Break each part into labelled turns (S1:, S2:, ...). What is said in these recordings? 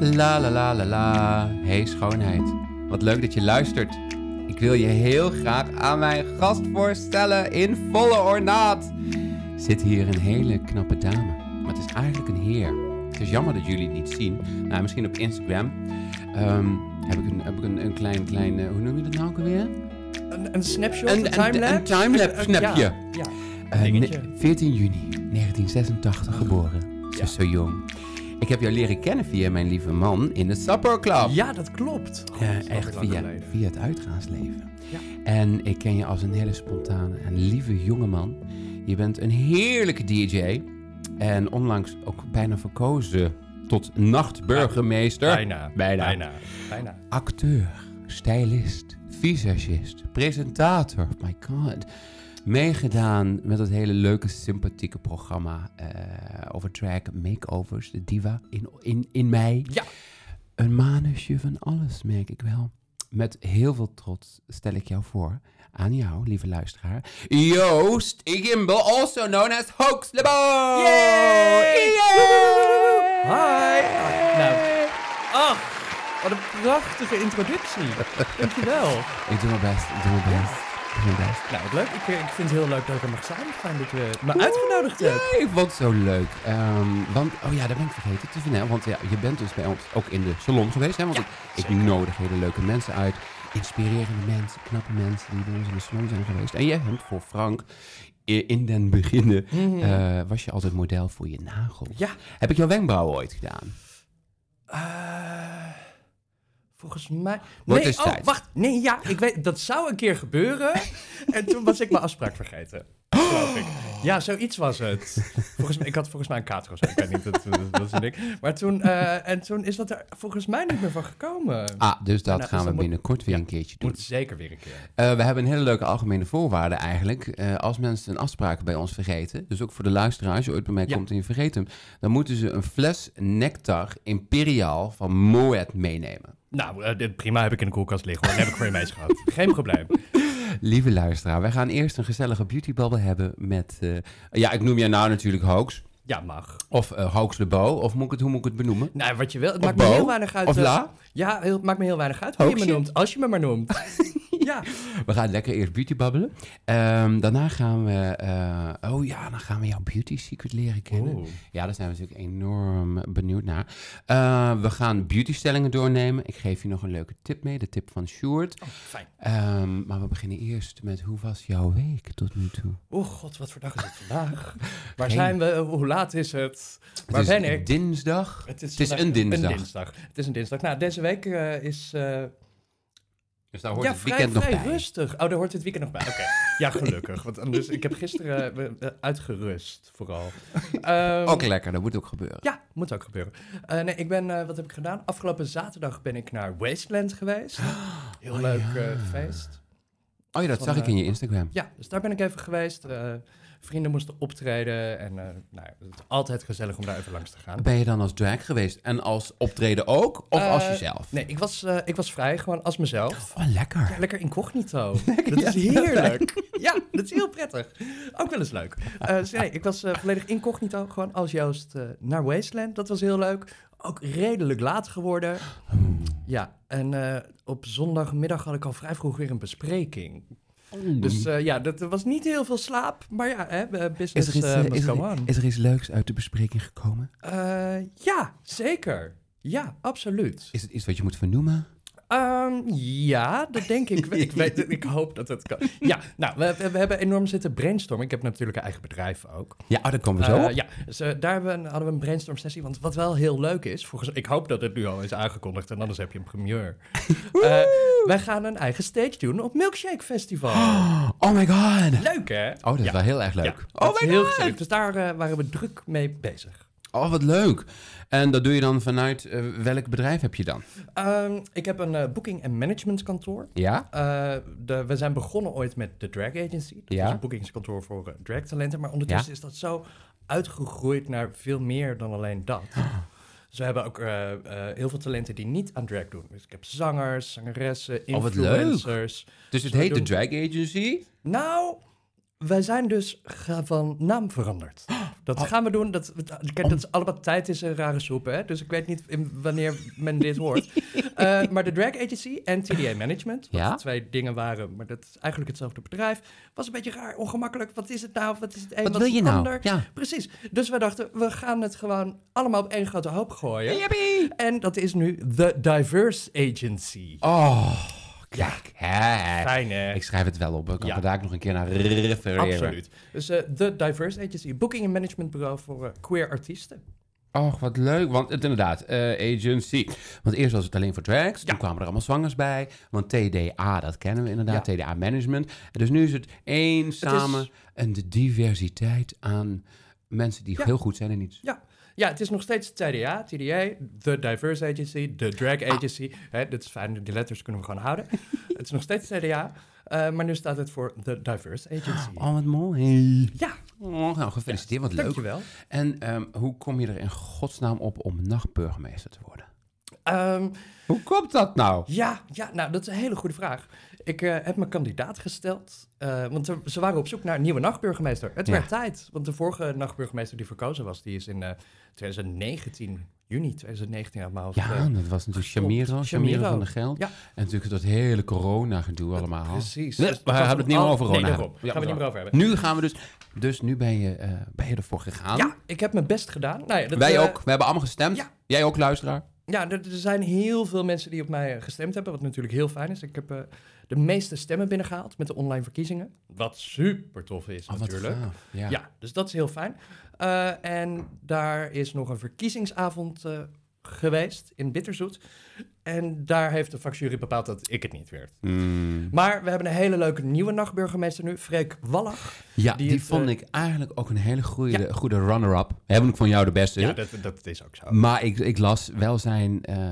S1: la la la la. Hey schoonheid, wat leuk dat je luistert. Ik wil je heel graag aan mijn gast voorstellen in volle ornaat. Zit hier een hele knappe dame, maar het is eigenlijk een heer. Het is jammer dat jullie het niet zien. Nou, misschien op Instagram ehm, heb ik, een, heb ik een, een klein, klein eh, hoe noem je dat nou ook alweer?
S2: Een, een snapshot,
S1: Een-
S2: een,
S1: een-
S2: timelapse?
S1: een timelapse
S2: Een- ja,
S1: snapje.
S2: Ja,
S1: Eh,
S2: Dingetje.
S1: ne- 14 juni 1986 geboren. Ze
S2: Ja.
S1: is zo jong. Ik heb jou leren kennen via mijn lieve man in de Supper Club.
S2: ja, dat klopt. God,
S1: Eh,
S2: dat is
S1: echt
S2: lang
S1: via,
S2: geleden.
S1: via het uitgaansleven.
S2: Ja.
S1: En ik ken je als een hele spontane en lieve jongeman. Je bent een heerlijke DJ. En onlangs ook bijna verkozen tot nachtburgemeester.
S2: Bijna.
S1: Bijna.
S2: Bijna. Bijna.
S1: Acteur, stylist, visagist, presentator. My god. Meegedaan met dat hele leuke, sympathieke programma eh, over drag makeovers. De diva in, in, in mei.
S2: Ja.
S1: Een manusje van alles, merk ik wel. Met heel veel trots stel ik jou voor aan jou, lieve luisteraar. Joost Gimbel, also known as Hoax Lebo!
S2: Yay!
S1: Yay!
S2: Hi. Ah, nou. Ach, wat een prachtige introductie. Dankjewel.
S1: Ik doe mijn best, ik doe mijn best. Ik doe mijn best.
S2: Nou, wat leuk. Ik, ik vind het heel leuk dat ik er mag zijn. Fijn dat je me uitgenodigd hebt.
S1: Ja, ik vond het zo leuk. Ehm, want, oh ja, dat ben ik vergeten te vertellen. Want ja, je bent dus bij ons ook in de salon geweest. Hè? Want ik, ik nodig hele leuke mensen uit. Inspirerende mensen, knappe mensen die bij ons in de salon zijn geweest. En jij hebt voor Frank, i- in den beginnen, eh, was je altijd model voor je nagel.
S2: Mhm. Ja.
S1: Heb ik jouw wenkbrauwen ooit gedaan?
S2: Eh, volgens mij...
S1: Wordt
S2: nee,
S1: dus
S2: oh,
S1: tijd.
S2: wacht. Nee, ja, ik weet, dat zou een keer gebeuren. En toen was ik mijn afspraak vergeten. Geloof ik. Ja, zoiets was het. Volgens mij, ik had volgens mij een kater of zo. Ik weet niet, dat, dat, dat is een ding. Maar toen, eh, en toen is dat er volgens mij niet meer van gekomen.
S1: Ah, dus dat
S2: Nou, dus
S1: gaan
S2: dat
S1: we
S2: moet-
S1: binnenkort weer een keertje doen.
S2: Moet zeker weer een keer.
S1: Eh, we hebben een hele leuke algemene voorwaarde eigenlijk. Eh, als mensen een afspraak bij ons vergeten, dus ook voor de luisteraar, als je ooit bij mij
S2: Ja.
S1: komt en je vergeet hem, dan moeten ze een fles nectar imperiaal van Moet meenemen.
S2: Nou, eh, dit, prima heb ik in de koelkast liggen. hoor. Dat heb ik voor je meisje gehad. Geen probleem.
S1: Lieve luisteraar, wij gaan eerst een gezellige beautybabbel hebben met... eh, ja, ik noem jij nou natuurlijk Hoax.
S2: Ja, mag.
S1: Of eh Hoax de Bo. Of moet ik het, hoe moet ik het benoemen?
S2: Nou, wat je wil. Het
S1: Of
S2: maakt me
S1: Bo,
S2: heel weinig uit.
S1: of
S2: eh,
S1: La.
S2: Ja, heel, maakt me heel weinig uit hoe je me
S1: Hoaxje.
S2: noemt. Als je me maar noemt. ja.
S1: We gaan lekker eerst beautybabbelen. Ehm, daarna gaan we... eh, oh ja, dan gaan we jouw beauty secret leren kennen.
S2: Oeh.
S1: Ja, daar zijn we natuurlijk enorm benieuwd naar. Eh, we gaan beautystellingen doornemen. Ik geef je nog een leuke tip mee, de tip van Sjoerd.
S2: Oh, fijn.
S1: Ehm, maar we beginnen eerst met hoe was jouw week tot nu toe?
S2: Oeh, Oh god, wat voor dag is het vandaag? Waar
S1: Geen-
S2: zijn we? Hoe laat is het? Waar
S1: Het is
S2: ben ik?
S1: Dinsdag. het is
S2: vandaag
S1: een dinsdag.
S2: Een dinsdag. Het is een dinsdag. Nou, deze week eh, is... eh,
S1: Dus daar hoort
S2: ja,
S1: het
S2: vrij,
S1: weekend nog
S2: vrij
S1: bij.
S2: rustig. Oh, daar hoort het weekend nog bij. Oké. Ja, gelukkig. Want anders, ik heb gisteren eh, eh, uitgerust, vooral. Ehm,
S1: Ook lekker, dat moet ook gebeuren.
S2: Ja, moet ook gebeuren. Eh, nee, ik ben, eh, wat heb ik gedaan? Afgelopen zaterdag ben ik naar Wasteland geweest. Heel
S1: Oh,
S2: leuk
S1: ja.
S2: eh, feest.
S1: Oh ja, dat
S2: Van,
S1: zag ik
S2: eh,
S1: in je Instagram.
S2: Ja, dus daar ben ik even geweest. Eh, vrienden moesten optreden en eh, nou, het is altijd gezellig om daar even langs te gaan.
S1: Ben je dan als drag geweest en als optreden ook? Of
S2: Eh,
S1: als jezelf?
S2: Nee, ik was, eh, ik was vrij, gewoon als mezelf.
S1: Oh, lekker.
S2: Ja, lekker incognito. dat is heerlijk. ja, dat is heel prettig. Ook wel eens leuk. Eh, dus nee, ik was eh, volledig incognito, gewoon als Joost eh, naar Wasteland. Dat was heel leuk. Ook redelijk laat geworden. Ja, en eh, op zondagmiddag had ik al vrij vroeg weer een bespreking. Dus eh, ja, dat er was niet heel veel slaap. Maar ja, hè, eh,
S1: is,
S2: business
S1: er iets,
S2: eh,
S1: eh,
S2: must
S1: is,
S2: go
S1: er,
S2: on.
S1: is er iets leuks uit de bespreking gekomen?
S2: Eh, ja, zeker. Ja, absoluut.
S1: Is het iets wat je moet vernoemen?
S2: Ehm, ja, dat denk ik. wel. ik, weet, het. ik hoop dat het kan. Ja, nou, we, we- we hebben enorm zitten brainstormen. Ik heb natuurlijk een eigen bedrijf ook.
S1: Ja, oh, dat komen we zo op.
S2: Eh, ja, dus eh, daar hebben, we een- hadden we een brainstorm sessie. Want wat wel heel leuk is, volgens, ik hoop dat het nu al is aangekondigd en anders heb je een primeur. Eh, wij gaan een eigen stage doen op Milkshake Festival.
S1: Oh my god.
S2: Leuk hè?
S1: Oh, dat is
S2: Ja.
S1: wel heel erg
S2: Ja,
S1: leuk.
S2: dat
S1: oh
S2: is
S1: my
S2: heel
S1: god.
S2: gezellig. Dus daar eh, waren we druk mee bezig.
S1: Oh, wat leuk. En dat doe je dan vanuit eh, welk bedrijf heb je dan?
S2: Ehm, ik heb een eh, booking- en managementkantoor.
S1: Ja?
S2: Eh, de, we zijn begonnen ooit met de Drag Agency. Dat
S1: Ja.
S2: is een boekingskantoor voor eh, dragtalenten. Maar ondertussen is dat zo uitgegroeid naar veel meer dan alleen dat.
S1: Ah.
S2: Ze hebben ook eh, eh, heel veel talenten die niet aan drag doen. Dus ik heb zangers, zangeressen,
S1: Oh, wat leuk.
S2: influencers.
S1: Dus het
S2: Zo
S1: heet de
S2: doen.
S1: Drag Agency.
S2: Nou, wij zijn dus ge- van naam veranderd. Dat
S1: Oh.
S2: gaan we doen. Dat, kijk, dat is allemaal tijd is een rare soep, hè? Dus ik weet niet in- wanneer men dit hoort. Eh, maar de Drag Agency en TDA Management, wat
S1: Ja?
S2: de twee dingen waren, maar dat is eigenlijk hetzelfde bedrijf, was een beetje raar, ongemakkelijk. Wat is het nou? Wat is het een?
S1: Wat
S2: is
S1: wil je
S2: het
S1: nou?
S2: ander?
S1: Ja.
S2: Precies. Dus we dachten, we gaan het gewoon allemaal op één grote hoop gooien.
S1: Yippie!
S2: En dat is nu The Diverse Agency.
S1: Oh, kijk. Hè.
S2: Fijn, hè?
S1: Ik schrijf het wel op. Ik kan
S2: Ja.
S1: vandaag ook nog een keer naar refereren.
S2: Absoluut. Dus eh, The Diverse Agency, booking en managementbureau voor eh, queer artiesten.
S1: Och, wat leuk. Want het, inderdaad, eh, agency. Want eerst was het alleen voor drags. Toen
S2: Ja.
S1: kwamen er allemaal zwangers bij. Want TDA, dat kennen we inderdaad.
S2: Ja.
S1: TDA Management. En dus nu is het één samen. En de diversiteit aan mensen die
S2: Ja.
S1: heel goed zijn en niet.
S2: Ja. ja, het is nog steeds TDA, TDA, The Diverse Agency, The Drag Agency. Hè, dat is fijn, die letters kunnen we gewoon houden. het is nog steeds TDA, eh, maar nu staat het voor The Diverse Agency.
S1: Oh, wat mooi.
S2: Ja,
S1: Oh, nou, gefeliciteerd. Wat leuk.
S2: dankjewel.
S1: En ehm, hoe kom je er in godsnaam op om nachtburgemeester te worden?
S2: Ehm,
S1: Hoe komt dat nou?
S2: ja, ja, nou, dat is een hele goede vraag. Ik eh, heb mijn kandidaat gesteld, eh, want er- ze waren op zoek naar een nieuwe nachtburgemeester. Het
S1: Ja.
S2: werd tijd, want de vorige nachtburgemeester die verkozen was, die is in eh, 2019, juni 2019 uit mijn hoofd. eh,
S1: Ja, dat was natuurlijk
S2: klopt.
S1: Shamiro, Shamiro
S2: Shamiro.
S1: van de Geld.
S2: Ja.
S1: En natuurlijk dat hele corona-gedoe allemaal.
S2: Precies.
S1: Nee,
S2: Dus
S1: we hebben het niet meer
S2: al-
S1: over
S2: Nee,
S1: corona.
S2: daarom.
S1: Ja,
S2: gaan we het niet meer over hebben.
S1: Nu gaan we dus... Dus nu ben je, eh, ben je ervoor gegaan.
S2: Ja, ik heb mijn best gedaan. Nou ja, dat,
S1: Wij
S2: eh,
S1: ook. We hebben allemaal gestemd.
S2: ja. Oh,
S1: Jij ook, luisteraar.
S2: Ja, er, er zijn heel veel mensen die op mij eh, gestemd hebben, wat natuurlijk heel fijn is. Ik heb eh, de meeste stemmen binnengehaald met de online verkiezingen. Wat super tof is
S1: Oh, wat
S2: natuurlijk.
S1: gaaf. Ja.
S2: Ja. dus dat is heel fijn. Eh, en daar is nog een verkiezingsavond eh, geweest in Bitterzoet. En daar heeft de vakjury bepaald dat ik het niet werd.
S1: Mm.
S2: Maar we hebben een hele leuke nieuwe nachtburgemeester nu, Freek Wallach.
S1: Ja, die,
S2: Die het,
S1: vond
S2: eh,
S1: ik eigenlijk ook een hele goede, goede runner-up. We hebben ook van jou de beste.
S2: Ja, dat, dat is ook zo.
S1: Maar ik, ik las wel zijn, eh,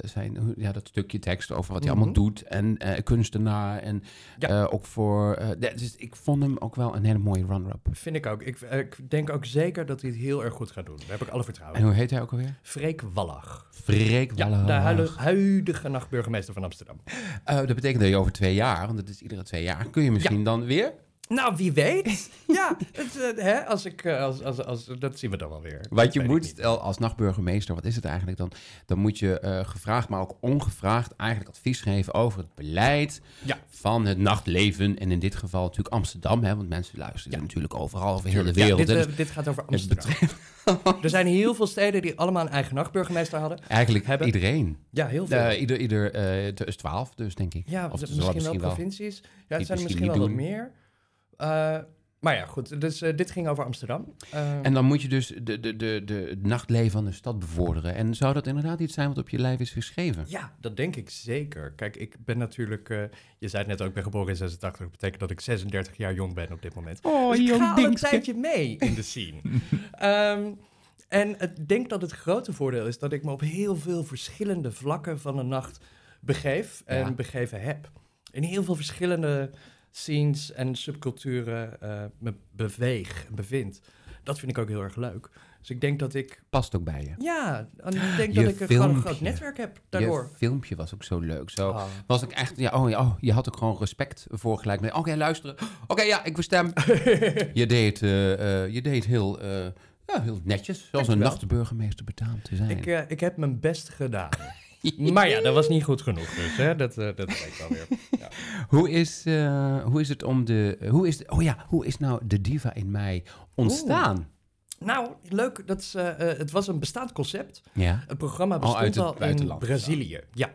S1: zijn hoe- ja, dat stukje tekst over wat hij
S2: Mhm.
S1: allemaal doet. En eh, kunstenaar. En
S2: Ja.
S1: eh, ook voor. eh, de- dus ik vond hem ook wel een hele mooie runner-up.
S2: Vind ik ook. Ik, eh, ik denk ook zeker dat hij het heel erg goed gaat doen. Daar heb ik alle vertrouwen
S1: En
S2: in.
S1: hoe heet hij ook alweer?
S2: Freek Wallach.
S1: Freek
S2: Ja,
S1: Wallenhaag.
S2: de huidige, huidige nachtburgemeester van Amsterdam.
S1: Eh, dat betekent dat je over twee jaar, want het is iedere twee jaar, kun je misschien dan weer.
S2: Nou, wie weet. ja, het, eh, hè, als ik, eh, als, als, als, dat zien we dan wel weer.
S1: Wat je
S2: Weet ik
S1: moet,
S2: niet.
S1: stel als nachtburgemeester, wat is het eigenlijk dan? Dan moet je eh, gevraagd, maar ook ongevraagd, eigenlijk advies geven over het beleid
S2: Ja.
S1: van het nachtleven. En in dit geval natuurlijk Amsterdam, hè, want mensen luisteren
S2: Ja.
S1: natuurlijk overal over heel de wereld.
S2: Ja,
S1: hè,
S2: dit,
S1: dus
S2: eh, dit gaat over
S1: het
S2: Amsterdam. Er zijn heel veel steden die allemaal een eigen nachtburgemeester hadden.
S1: Eigenlijk
S2: eh, Hebben-
S1: iedereen.
S2: Ja, heel veel.
S1: Eh ieder ieder eh, t- is twaalf dus, denk ik.
S2: ja,
S1: Of
S2: z-
S1: ze
S2: misschien wel
S1: misschien wel.
S2: provincies. Ja,
S1: Die
S2: het zijn er misschien
S1: misschien
S2: wel wat
S1: niet
S2: meer. Eh, maar ja, goed. Dus eh, dit ging over Amsterdam. Eh,
S1: En dan moet je dus de, de, de, de, het nachtleven van de stad bevorderen. En zou dat inderdaad iets zijn wat op je lijf is geschreven?
S2: Ja, dat denk ik zeker. Kijk, ik ben natuurlijk... eh, je zei het net ook, ik ben geboren in 86. Dat betekent dat ik 36 jaar jong ben op dit moment.
S1: Oh,
S2: dus ik ga al een tijdje mee in de scene. Ehm, en ik denk dat het grote voordeel is dat ik me op heel veel verschillende vlakken van de nacht begeef en
S1: Ja.
S2: begeven heb. In heel veel verschillende scenes en subculturen eh, me beweeg en bevind. Dat vind ik ook heel erg leuk. Dus ik denk dat ik...
S1: Past ook bij je.
S2: Ja, en ik denk
S1: Je
S2: dat ik er gewoon een groot
S1: filmpje.
S2: netwerk heb
S1: Je
S2: daardoor.
S1: filmpje was ook zo leuk. Zo
S2: Ah.
S1: was ik echt, ja, oh, ja, oh, je had ook gewoon respect voor gelijk. met, Oké, luisteren. Oké, ja, ik verstem. je deed, eh, eh, je deed heel, eh, ja, heel netjes, zoals een
S2: Dankjewel.
S1: nachtburgemeester betaamt te zijn.
S2: Ik, eh, ik heb mijn best gedaan. maar ja, dat was niet goed genoeg. Dus hè, dat, eh dat weet ik wel weer. Ja.
S1: Hoe is, eh, hoe is het om de. Hoe is, de- oh ja, hoe is nou de diva in mij ontstaan?
S2: Nou, leuk. Dat is, eh, eh, het was een bestaand concept.
S1: Ja.
S2: Het programma
S1: Al
S2: bestond al,
S1: uit het
S2: in
S1: buitenland.
S2: Brazilië. Ja.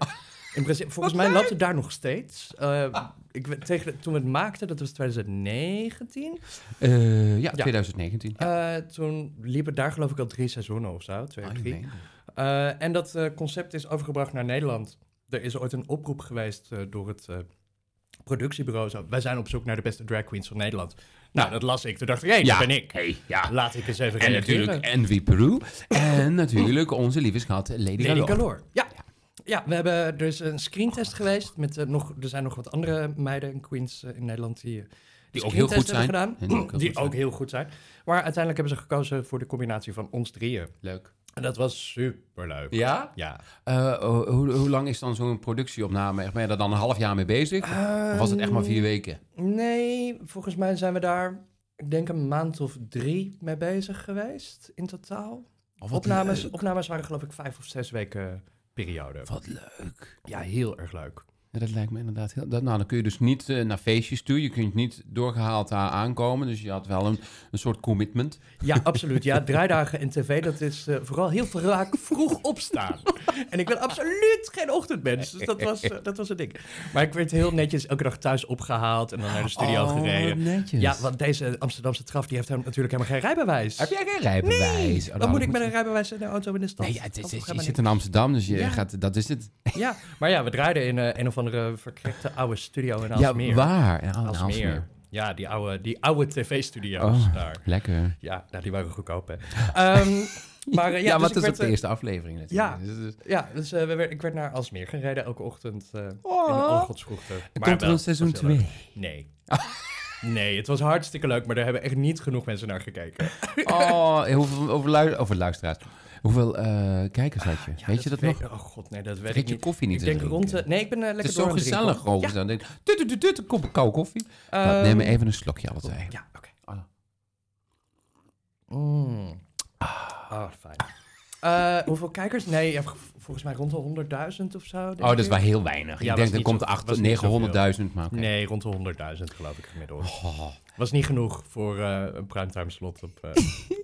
S2: In Brazilië. Volgens mij loopt het daar nog steeds. Eh, ik, weet- tegen, toen we het maakten, dat was 2019.
S1: Eh, ja,
S2: Ja.
S1: 2019.
S2: eh, toen liepen daar geloof ik al drie seizoenen of zo. Twee,
S1: Oh,
S2: of
S1: ik
S2: drie.
S1: meen
S2: Eh, en dat eh, concept is overgebracht naar Nederland. Er is ooit een oproep geweest eh, door het eh, productiebureau. Zo, wij zijn op zoek naar de beste drag queens van Nederland. Nou, dat las ik. Toen dacht ik, hé,
S1: het.
S2: dat ben ik.
S1: Hey, ja.
S2: Laat ik eens even
S1: En
S2: reageren.
S1: natuurlijk Envy Peru. en natuurlijk onze lieve schat Lady
S2: Lady
S1: Gaga.
S2: Calor. Ja. Ja, we hebben dus een screentest geweest. Met, eh, nog, er zijn nog wat andere meiden en queens eh, in Nederland die, eh,
S1: Die
S2: de
S1: ook heel goed
S2: screentest hebben
S1: zijn.
S2: Gedaan,
S1: En die
S2: die
S1: ook heel
S2: ook,
S1: goed zijn.
S2: heel goed zijn. Maar uiteindelijk hebben ze gekozen voor de combinatie van ons drieën.
S1: Leuk.
S2: En dat was superleuk.
S1: Ja?
S2: Ja.
S1: Eh, ho- hoe, hoe lang is dan zo'n productieopname? Echt, Ben je daar Ehm,
S2: Ehm,
S1: dan een half jaar mee bezig? Of was het echt maar vier weken?
S2: Nee, volgens mij zijn we daar ik denk een maand of drie mee bezig geweest in totaal.
S1: Oh, wat
S2: Opnames,
S1: leuk.
S2: opnames waren geloof ik vijf of zes weken periode.
S1: Wat leuk.
S2: Ja, heel erg leuk.
S1: Ja, dat lijkt me inderdaad heel... Dat, nou, dan kun je dus niet eh, naar feestjes toe. Je kunt niet doorgehaald a- aankomen. Dus je had wel een, een soort commitment.
S2: Ja, absoluut. Ja, draaidagen en tv, dat is eh, vooral heel vaak vroeg opstaan. En ik ben absoluut geen ochtendmens, dus dat was, eh, dat was een ding. Maar ik werd heel netjes elke dag thuis opgehaald en dan naar de studio
S1: Oh,
S2: gereden.
S1: wat netjes.
S2: Ja, want deze Amsterdamse traf, die heeft hem natuurlijk helemaal geen rijbewijs.
S1: Heb jij geen rijbewijs? Oh,
S2: Dan
S1: nou,
S2: moet ik met
S1: moet-
S2: een rijbewijs in de auto in de stad.
S1: Nee, ja, het is-
S2: Dat
S1: het is-
S2: gaat
S1: je
S2: maar
S1: zit in Amsterdam, dus je
S2: Ja.
S1: gaat... Dat is het.
S2: niet. Ja, maar ja, we draaiden in eh, een of andere verkrekte oude studio in
S1: ja,
S2: Aalsmeer.
S1: waar? Ja,
S2: Aalsmeer.
S1: Aalsmeer.
S2: Ja, die oude, die oude tv-studio's
S1: Oh,
S2: daar.
S1: lekker.
S2: Ja, nou, die waren goedkoop, hè. Ehm, maar eh, ja,
S1: ja,
S2: dus ik
S1: want het is
S2: werd,
S1: ook de
S2: eh,
S1: eerste aflevering natuurlijk.
S2: ja.
S1: Dus het is-
S2: Ja, dus eh, we werd- ik werd naar Alsmeer gereden elke ochtend eh in de
S1: Oh.
S2: ooggodsvroegte.
S1: Er komt er een seizoen 2.
S2: Nee. Nee, het was hartstikke leuk, maar daar hebben echt niet genoeg mensen naar gekeken.
S1: Oh, hoeveel, over, lu- over luisteraars. Hoeveel eh, kijkers had je?
S2: Ja,
S1: weet je dat nog?
S2: Oh god, nee, dat weet ik
S1: Vergeet je
S2: niet.
S1: koffie niet
S2: ik
S1: te
S2: denk
S1: drinken.
S2: rond de... Nee, ik ben eh, lekker
S1: Het is
S2: door
S1: zo
S2: aan het drinken.
S1: gezellig over zo'n ding. Tut, tut, tut, tut, een kop koude koffie.
S2: Ja,
S1: Nou,
S2: ehm,
S1: neem maar even een slokje alle twee.
S2: Ja, oké.
S1: Ah.
S2: Mm. Ah, fijn. Eh, hoeveel kijkers? Nee, ja, v- volgens mij rond de 100.000 of zo. denk
S1: Oh, dat is
S2: ik.
S1: wel heel weinig.
S2: Ja,
S1: ik
S2: was
S1: denk dat
S2: niet
S1: komt
S2: zo-
S1: acht-
S2: was niet
S1: 900.000, maar oké.
S2: Nee, rond de 100.000 geloof ik gemiddeld.
S1: Oh,
S2: Was niet genoeg voor eh, een primetime slot op eh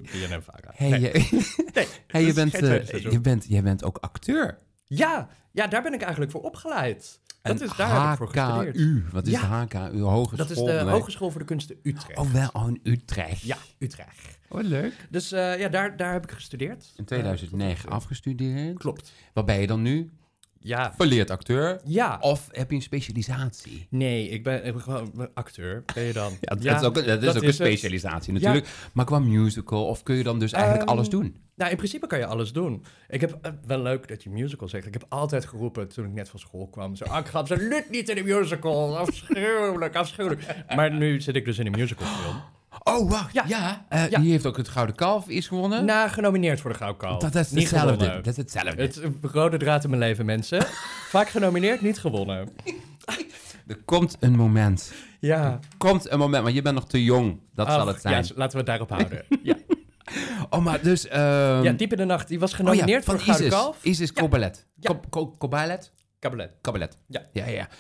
S2: BNN Vara.
S1: hey,
S2: Nee.
S1: je,
S2: Nee,
S1: hey, je,
S2: dus
S1: bent,
S2: geen tweede
S1: eh,
S2: seizoen.
S1: je, bent, je bent ook acteur.
S2: Ja, ja, daar ben ik eigenlijk voor opgeleid. Dat
S1: En
S2: is daar heb ik voor gestudeerd.
S1: HKU. Wat is
S2: Ja.
S1: de HKU? Hogeschool.
S2: Dat is de
S1: nee.
S2: Hogeschool voor de Kunsten Utrecht.
S1: Oh, wel. Oh, in Utrecht.
S2: Ja, Utrecht.
S1: Oh, leuk.
S2: Dus eh, ja, daar, daar heb ik gestudeerd.
S1: In Oh. 2009
S2: Eh,
S1: afgestudeerd.
S2: Klopt.
S1: Wat ben je dan nu?
S2: Ja.
S1: Verleerd acteur?
S2: Ja.
S1: Of heb je een specialisatie?
S2: Nee, ik ben, ik ben gewoon acteur. Ben je dan?
S1: Ja, dat is ook, dat is
S2: dat
S1: ook
S2: is
S1: een
S2: het.
S1: specialisatie natuurlijk. Maar qua musical, of kun je dan dus eigenlijk
S2: Ehm,
S1: alles doen?
S2: Nou, in principe kan je alles doen. Ik heb eh, wel leuk dat je musical zegt. Ik heb altijd geroepen toen ik net van school kwam. Zo, ah, ik ga absoluut niet in een musical. Afschuwelijk, afschuwelijk. Maar nu zit ik dus in een musicalfilm.
S1: Oh, wacht. Ja.
S2: Ja.
S1: eh,
S2: Ja.
S1: Die heeft ook het Gouden Kalf is gewonnen.
S2: Na Nou, genomineerd voor de Gouden
S1: dat, is hetzelfde. Dat is hetzelfde.
S2: Het eh, rode draad in mijn leven, mensen. Vaak genomineerd, niet gewonnen.
S1: Er komt een moment.
S2: Ja.
S1: Komt een moment, want je bent nog te jong. Dat zal
S2: Ach,
S1: het zijn.
S2: Ja, laten we het daarop houden. ja.
S1: Oh, maar dus... ehm,
S2: ja, Diep in de Nacht. Die was
S1: oh ja,
S2: genomineerd
S1: van
S2: voor de Gouden
S1: Isis.
S2: Kalf.
S1: Isis Kobalet.
S2: Ja.
S1: Ko- ko- Kobalet?
S2: Cabaret.
S1: Kobalet.
S2: Ja.
S1: Ja, ja.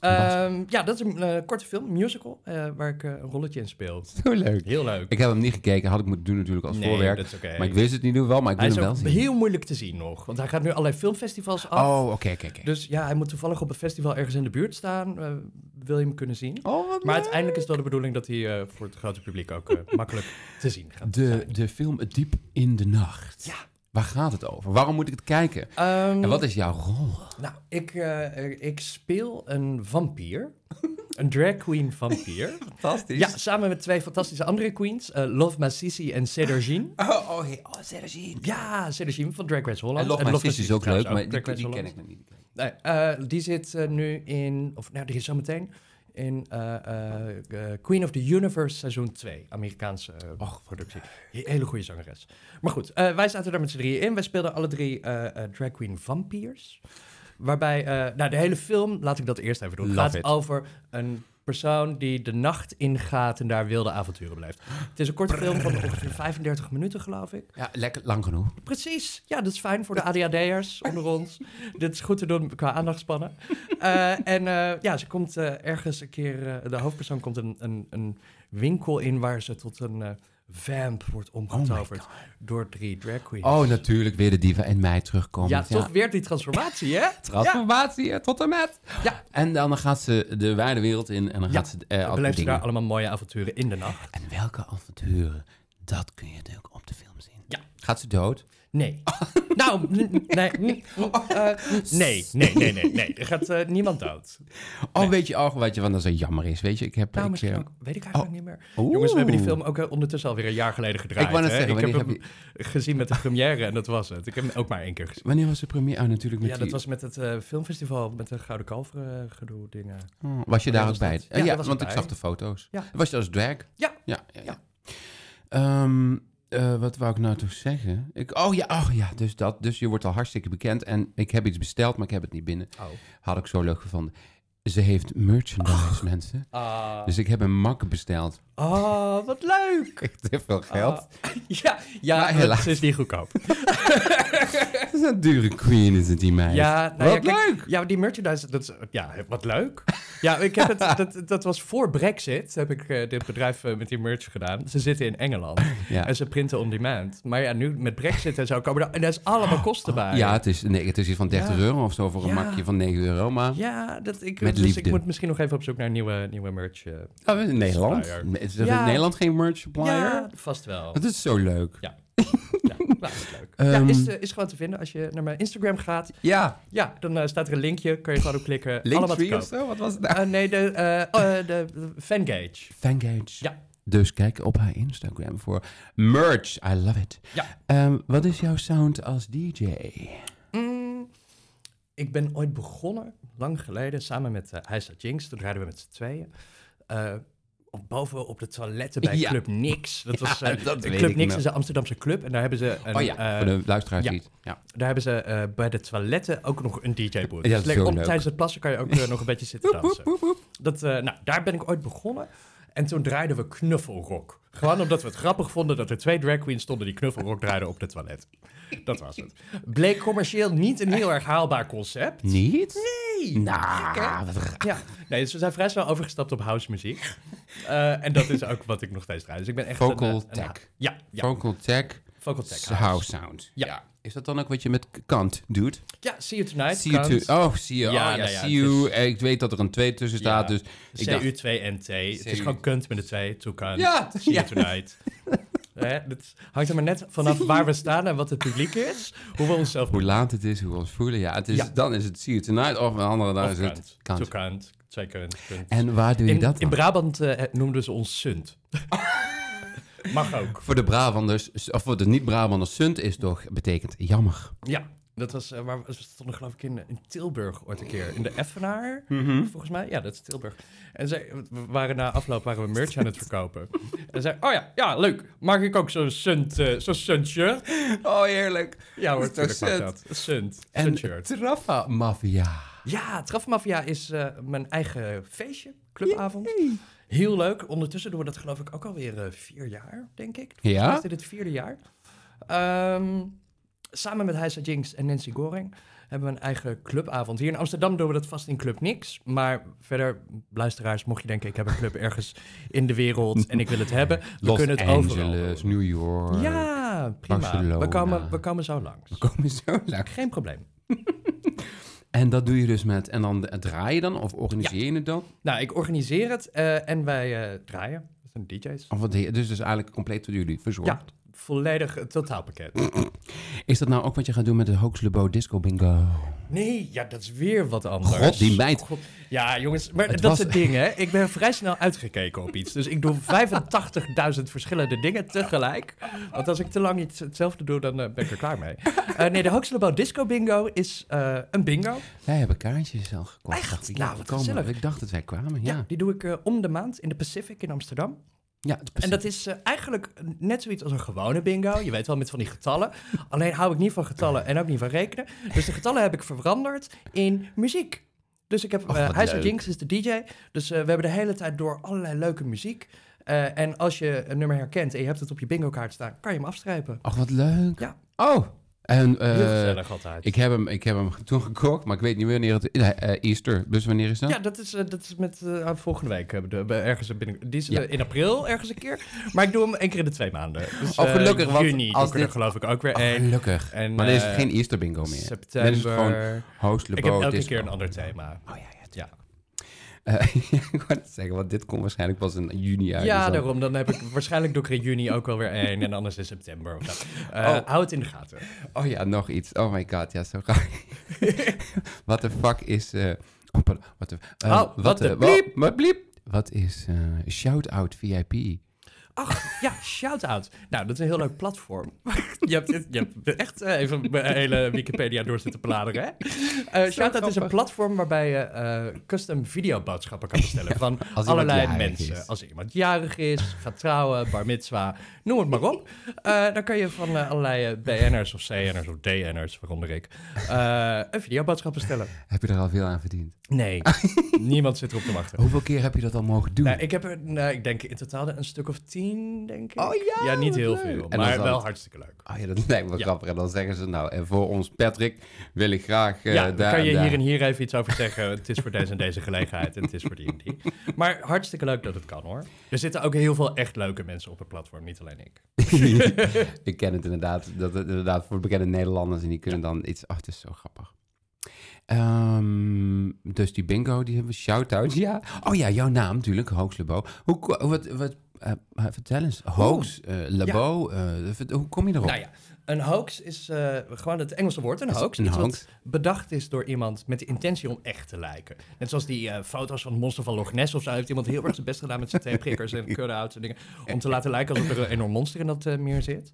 S2: Ehm, ja, dat is een eh, korte film, musical, eh, waar ik eh, een rolletje in speel.
S1: Zo leuk.
S2: Heel leuk.
S1: Ik heb hem niet gekeken. Had ik moeten doen natuurlijk als
S2: Nee,
S1: voorwerk.
S2: dat is oké.
S1: Maar ik wist het niet doen wel, maar ik
S2: Hij
S1: wil
S2: is
S1: hem wel
S2: ook
S1: zien.
S2: heel moeilijk te zien nog, want hij gaat nu allerlei filmfestivals af.
S1: Oh, oké, oké, oké.
S2: Dus ja, hij moet toevallig op een festival ergens in de buurt staan. eh, wil je hem kunnen zien?
S1: Oh, wat
S2: Maar
S1: leuk.
S2: uiteindelijk is het wel de bedoeling dat hij eh, voor het grote publiek ook eh, makkelijk te zien gaat.
S1: De, de film Diep in de Nacht.
S2: Ja.
S1: Waar gaat het over? Waarom moet ik het kijken?
S2: Ehm,
S1: En wat is jouw rol?
S2: Nou, ik, eh, ik speel een vampier. een drag queen vampier.
S1: Fantastisch.
S2: ja, samen met twee fantastische andere queens. eh, Love Masisi en Sedergine.
S1: Oh, oh, hey. oh Sergine.
S2: Ja, Sedergine van Drag Race Holland.
S1: En Love My Sis is ook leuk,
S2: trouwens
S1: maar die,
S2: Drag Race
S1: die ken
S2: Holland.
S1: ik nog niet.
S2: Nee, eh, die zit eh, nu in, of nou, die is zometeen in eh, eh, eh, Queen of the Universe seizoen 2. Amerikaanse eh, productie. Hele goede zangeres. Maar goed, eh, wij zaten daar met z'n drieën in. Wij speelden alle drie eh, eh, drag queen vampiers. Waarbij, eh, nou de hele film, laat ik dat eerst even doen. Het
S1: Love
S2: gaat
S1: it.
S2: over een persoon die de nacht ingaat en daar wilde avonturen beleeft. Het is een korte film van ongeveer 35 minuten, geloof ik.
S1: Ja, lekker lang genoeg.
S2: Precies. Ja, dat is fijn voor de ADHD'ers onder ons. Dit is goed te doen qua aandachtspannen. Eh, en eh, ja, ze komt eh, ergens een keer... eh, de hoofdpersoon komt een, een, een winkel in waar ze tot een eh, vamp wordt omgetoverd door drie drag queens.
S1: Oh, natuurlijk weer de diva en mij terugkomen.
S2: ja, toch weer die transformatie, hè?
S1: Transformatie eh, tot en met.
S2: Ja.
S1: En dan gaat ze de wijde wereld in en dan
S2: Ja.
S1: gaat ze eh, al die
S2: Beleeft ze daar
S1: dingen.
S2: allemaal mooie avonturen in de nacht?
S1: En welke avonturen, dat kun je natuurlijk op de film zien.
S2: Ja.
S1: Gaat ze dood?
S2: Nee. nou, n- n- nee, n- eh, nee, nee, nee, nee, nee. Er gaat eh, niemand dood.
S1: Oh, weet je, oh, weet je, want dat zo jammer is. Weet je, ik heb...
S2: Nou,
S1: ik, eh,
S2: misschien ook. Weet ik eigenlijk niet meer.
S1: Oeh.
S2: Jongens, we hebben die film ook eh, ondertussen alweer een jaar geleden gedraaid.
S1: Ik wou net
S2: hè?
S1: zeggen,
S2: ik heb hem
S1: wanneer
S2: gezien met de première en dat was het. Ik heb hem ook maar één keer gezien.
S1: Wanneer was de première? Oh, natuurlijk met
S2: Ja,
S1: die...
S2: dat was met het eh, filmfestival, met de Gouden Kalver eh, gedoe dingen.
S1: Oh, was je daar ook
S2: was
S1: bij?
S2: dat?
S1: Eh,
S2: Ja,
S1: Ja,
S2: daar was ik
S1: want ik
S2: bij.
S1: zag de foto's.
S2: Ja.
S1: Was je als drag?
S2: Ja.
S1: Ja, ja, ja.
S2: Ja.
S1: Ehm, eh, wat wou ik nou toch zeggen? Ik, oh ja, oh ja, dus dat. Dus je wordt al hartstikke bekend. En ik heb iets besteld, maar ik heb het niet binnen.
S2: Oh.
S1: Had ik zo leuk gevonden. Ze heeft merchandise, mensen.
S2: Ah,
S1: Dus ik heb een mak besteld. Oh.
S2: ah, wat leuk.
S1: Echt heel veel geld.
S2: Ah, ja, ja
S1: Maar helaas.
S2: het is niet goedkoop.
S1: Het is een dure queen, is het die meid.
S2: Ja, nou ja,
S1: Wat
S2: kijk,
S1: leuk!
S2: Ja, maar die merchandise, dat is, ja, wat leuk. ja, ik heb het, dat, dat was voor Brexit, heb ik eh, dit bedrijf eh, met die merch gedaan. Ze zitten in Engeland
S1: Ja.
S2: en ze printen on demand. Maar ja, nu met Brexit en zo komen er, en daar is allemaal kosten bij.
S1: Oh, Ja, het is, nee, het is iets van 30
S2: Ja.
S1: euro of zo voor een
S2: Ja.
S1: makje van 9 euro. Maar
S2: Ja, dat ik,
S1: Met
S2: dus ik
S1: liefde.
S2: moet misschien nog even op zoek naar nieuwe, nieuwe merch. eh.
S1: Oh, in Nederland?
S2: Supplier.
S1: Is er
S2: Ja.
S1: in Nederland geen merch supplier?
S2: ja, vast wel.
S1: Dat is zo leuk.
S2: Ja. Ja, nou, dat is leuk. Ja,
S1: Ehm,
S2: is, eh, is gewoon te vinden als je naar mijn Instagram gaat.
S1: Ja,
S2: Ja, dan eh, staat er een linkje, kan je gewoon op klikken. allemaal te
S1: Linktree
S2: koop.
S1: of zo? Wat was het nou?
S2: Eh, nee, de, eh, eh, de, de Fangage.
S1: Fangage.
S2: Ja.
S1: Dus kijk op haar Instagram voor merch. I love it.
S2: Ja.
S1: Ehm, wat is jouw sound als DJ?
S2: Mm, ik ben ooit begonnen, lang geleden, samen met eh Heisa Jinx. Toen rijden we met z'n tweeën. eh, op, boven op de toiletten bij
S1: Ja.
S2: Club Nix. Dat was eh,
S1: dat
S2: de
S1: weet
S2: Club
S1: ik
S2: Nix
S1: nog.
S2: is een Amsterdamse club. En daar hebben ze, een,
S1: oh ja,
S2: eh,
S1: voor de luisteraars
S2: ja.
S1: niet. Ja.
S2: daar hebben ze eh, bij de toiletten ook nog een DJ-boot.
S1: Ja, dat is zo leuk.
S2: Dus Tijdens het plassen kan je ook eh, nog een beetje zitten dansen. Dat, eh, nou, daar ben ik ooit begonnen. En toen draaiden we knuffelrock. Gewoon omdat we het grappig vonden dat er twee drag queens stonden die knuffelrock draaiden op het toilet. Dat was het. Bleek commercieel niet een heel erg haalbaar concept.
S1: Niet?
S2: Nee.
S1: Nou, wat raar.
S2: Ja, nee, dus we zijn vrij snel overgestapt op house muziek. Eh, en dat is ook wat ik nog steeds draai. Dus ik ben echt
S1: Vocal
S2: een, eh,
S1: tech.
S2: een- ja, ja,
S1: Vocal tech,
S2: vocal tech
S1: house sound.
S2: Ja.
S1: Is dat dan ook wat je met k- kant doet?
S2: Ja, see you tonight.
S1: See you
S2: Kant.
S1: too. Oh, see you.
S2: Ja,
S1: Ja, oh, ja,
S2: nou ja,
S1: see
S2: het
S1: you. Eh, Ik weet dat er een 2 tussen staat,
S2: Ja.
S1: dus ik dacht...
S2: CU2NT. Het is
S1: CU.
S2: gewoon kunt met de twee. Toe kan.
S1: Ja,
S2: See
S1: ja.
S2: you tonight. Hè, dat hangt er maar net vanaf waar we staan en wat het publiek is. Hoe we onszelf
S1: Hoe laat het is, hoe we ons voelen. Ja, het is,
S2: Ja.
S1: dan is het see you tonight of een andere dag
S2: Of
S1: is het
S2: kunt. Toe
S1: kant.
S2: kunt. Twee kunt. kunt.
S1: En waar doe je
S2: In,
S1: dat
S2: in
S1: dan?
S2: Brabant eh, noemden ze ons sunt. Mag ook.
S1: Voor de Brabanders, of voor de niet-Brabanders, sunt is toch, betekent jammer.
S2: Ja, dat was, eh, maar we stonden geloof ik in, eh, in Tilburg ooit een keer. In de Effenaar,
S1: Mhm.
S2: volgens mij. Ja, dat is Tilburg. En zij, we waren na afloop waren we merch aan het verkopen. En zei, oh ja, ja, leuk. Mag ik ook zo'n sunt, eh, zo'n sunt shirt?
S1: Oh, heerlijk.
S2: Ja hoor,
S1: Dat is
S2: tuurlijk
S1: toch
S2: mag
S1: sunt?
S2: dat. Sunt,
S1: En
S2: sunt shirt.
S1: Traffa Mafia.
S2: Ja, Trafmafia is eh, mijn eigen feestje, clubavond. Heel leuk. Ondertussen doen we dat geloof ik ook alweer eh, vier jaar, denk ik. Volgens
S1: Ja?
S2: mij is dit het vierde jaar. Ehm, samen met Heisa Jinx en Nancy Goring hebben we een eigen clubavond. Hier in Amsterdam doen we dat vast in Club Niks. Maar verder, luisteraars, mocht je denken... ik heb een club ergens in de wereld en ik wil het hebben... we
S1: Los
S2: kunnen het overal
S1: Angeles,
S2: doen.
S1: New York.
S2: Ja, prima.
S1: Barcelona.
S2: We komen, we komen zo langs.
S1: We komen zo lang.
S2: Geen probleem.
S1: En dat doe je dus met... En dan eh, draai je dan of organiseer je het dan?
S2: Nou, ik organiseer het eh, en wij eh, draaien. Dat zijn DJ's.
S1: Of wat, dus het is eigenlijk compleet door jullie verzorgd.
S2: Ja, volledig het totaalpakket.
S1: Is dat nou ook wat je gaat doen met de Hoax Lebo Disco Bingo?
S2: Nee, ja, dat is weer wat anders.
S1: God, die meid.
S2: Ja, jongens, maar
S1: Het
S2: dat
S1: was-
S2: is het ding, hè. Ik ben vrij snel uitgekeken op iets. Dus ik doe 85.000 verschillende dingen tegelijk. Want als ik te lang iets hetzelfde doe, dan eh, ben ik er klaar mee. Eh, nee, de Hoaxlebo Disco Bingo is eh, een bingo.
S1: Wij hebben kaartjes al gekocht.
S2: Echt?
S1: Dacht ik,
S2: Nou,
S1: we
S2: wat
S1: komen.
S2: gezellig.
S1: Ik dacht dat wij kwamen,
S2: Ja.
S1: ja.
S2: die doe ik eh, om de maand in de Pacific in Amsterdam.
S1: Ja,
S2: En dat is eh, eigenlijk net zoiets als een gewone bingo. Je weet wel, met van die getallen. Alleen hou ik niet van getallen en ook niet van rekenen. Dus de getallen heb ik veranderd in muziek. Dus ik heb...
S1: Och,
S2: eh
S1: wat
S2: Hij is
S1: leuk.
S2: Jinx is de DJ. Dus eh, we hebben de hele tijd door allerlei leuke muziek. Eh, en als je een nummer herkent en je hebt het op je bingo kaart staan, kan je hem afstrijpen.
S1: Ach, wat leuk.
S2: Ja.
S1: Oh, en eh,
S2: Heel gezellig altijd.
S1: ik, heb hem, ik heb hem toen gekocht, maar ik weet niet wanneer het... eh, eh, Easter, dus wanneer is dat?
S2: Ja, dat is, eh, dat is met eh, volgende week. hebben we de- we ergens binnen, die is eh,
S1: Ja.
S2: in april ergens een keer. Maar ik doe hem één keer in de twee maanden. Dus,
S1: Oh,
S2: eh,
S1: gelukkig, want
S2: juni
S1: als
S2: doe ik er
S1: dit-
S2: geloof ik ook weer
S1: Oh,
S2: één.
S1: gelukkig.
S2: En,
S1: Maar dan is
S2: eh,
S1: het geen Easter bingo meer.
S2: September.
S1: Dan is het gewoon Host
S2: ik
S1: Lebo
S2: heb elke
S1: Disco.
S2: keer een ander thema.
S1: Oh ja, ja.
S2: Ja,
S1: Eh, ik wou net zeggen, want dit komt waarschijnlijk pas in juni uit. dus
S2: ja
S1: dan-
S2: daarom. Dan heb ik waarschijnlijk doe ik er in juni ook wel weer één. En anders in september. Of zo. Eh,
S1: Oh.
S2: Hou het in de gaten.
S1: Oh ja, nog iets. Oh my god, ja, zo ga Wat de fuck is... eh, oh, pardon, wat de... eh,
S2: Oh, wat de
S1: wa-
S2: bliep.
S1: Wat bliep? Wat is eh, shout-out VIP?
S2: Ach, ja, shout-out. Nou, dat is een heel leuk platform. je, hebt, dit- je hebt echt eh, even mijn hele Wikipedia door zitten bladeren, hè? Eh, shout-out is een
S1: grappig.
S2: platform waarbij je eh, custom videoboodschappen kan bestellen van
S1: iemand
S2: allerlei
S1: jarig
S2: mensen.
S1: is.
S2: Als iemand jarig is, gaat trouwen, bar mitzwa, noem het maar op. Eh, dan kan je van eh, allerlei eh, BN'ers of CN'ers of DN'ers, waaronder ik, eh, een videoboodschap bestellen.
S1: Heb je er al veel aan verdiend?
S2: Nee, niemand zit erop te wachten.
S1: Hoeveel keer heb je dat al mogen doen?
S2: Nou, ik heb er, nou, ik denk in totaal een stuk of tien, denk ik.
S1: Oh ja,
S2: Ja, niet
S1: wat
S2: heel
S1: leuk. En
S2: veel,
S1: dan
S2: maar
S1: zal
S2: wel
S1: het-
S2: hartstikke leuk.
S1: Oh ja, dat lijkt me wel
S2: Ja.
S1: grappig. En dan zeggen ze nou, en voor ons Patrick wil ik graag eh,
S2: ja, dan
S1: daar
S2: kan je
S1: daar.
S2: hier en hier even iets over zeggen. het is voor deze en deze gelegenheid en het is voor die en die. Maar hartstikke leuk dat het kan, hoor. Er zitten ook heel veel echt leuke mensen op het platform, niet alleen ik.
S1: ik ken het inderdaad. Dat het inderdaad voor bekende Nederlanders en die kunnen dan iets. Ach, het is zo grappig. Ehm, dus die bingo, die hebben we shout-out. Ja. Oh ja, jouw naam natuurlijk, Hoax Lebo. Hoe, ko- wat, wat, eh, eh, vertel eens, Hoax eh, Lebo, eh, vert- hoe kom je erop?
S2: Oh. Nou ja, een hoax is eh, gewoon het Engelse woord, een
S1: Is
S2: hoax.
S1: een
S2: iets wat
S1: hoax.
S2: bedacht is door iemand met de intentie om echt te lijken. Net zoals die eh, foto's van het monster van Loch Ness of zo. Heeft iemand heel erg zijn best gedaan met zijn twee prikkers en cut-outs en dingen. Om te laten lijken alsof er een enorm monster in dat eh, meer zit.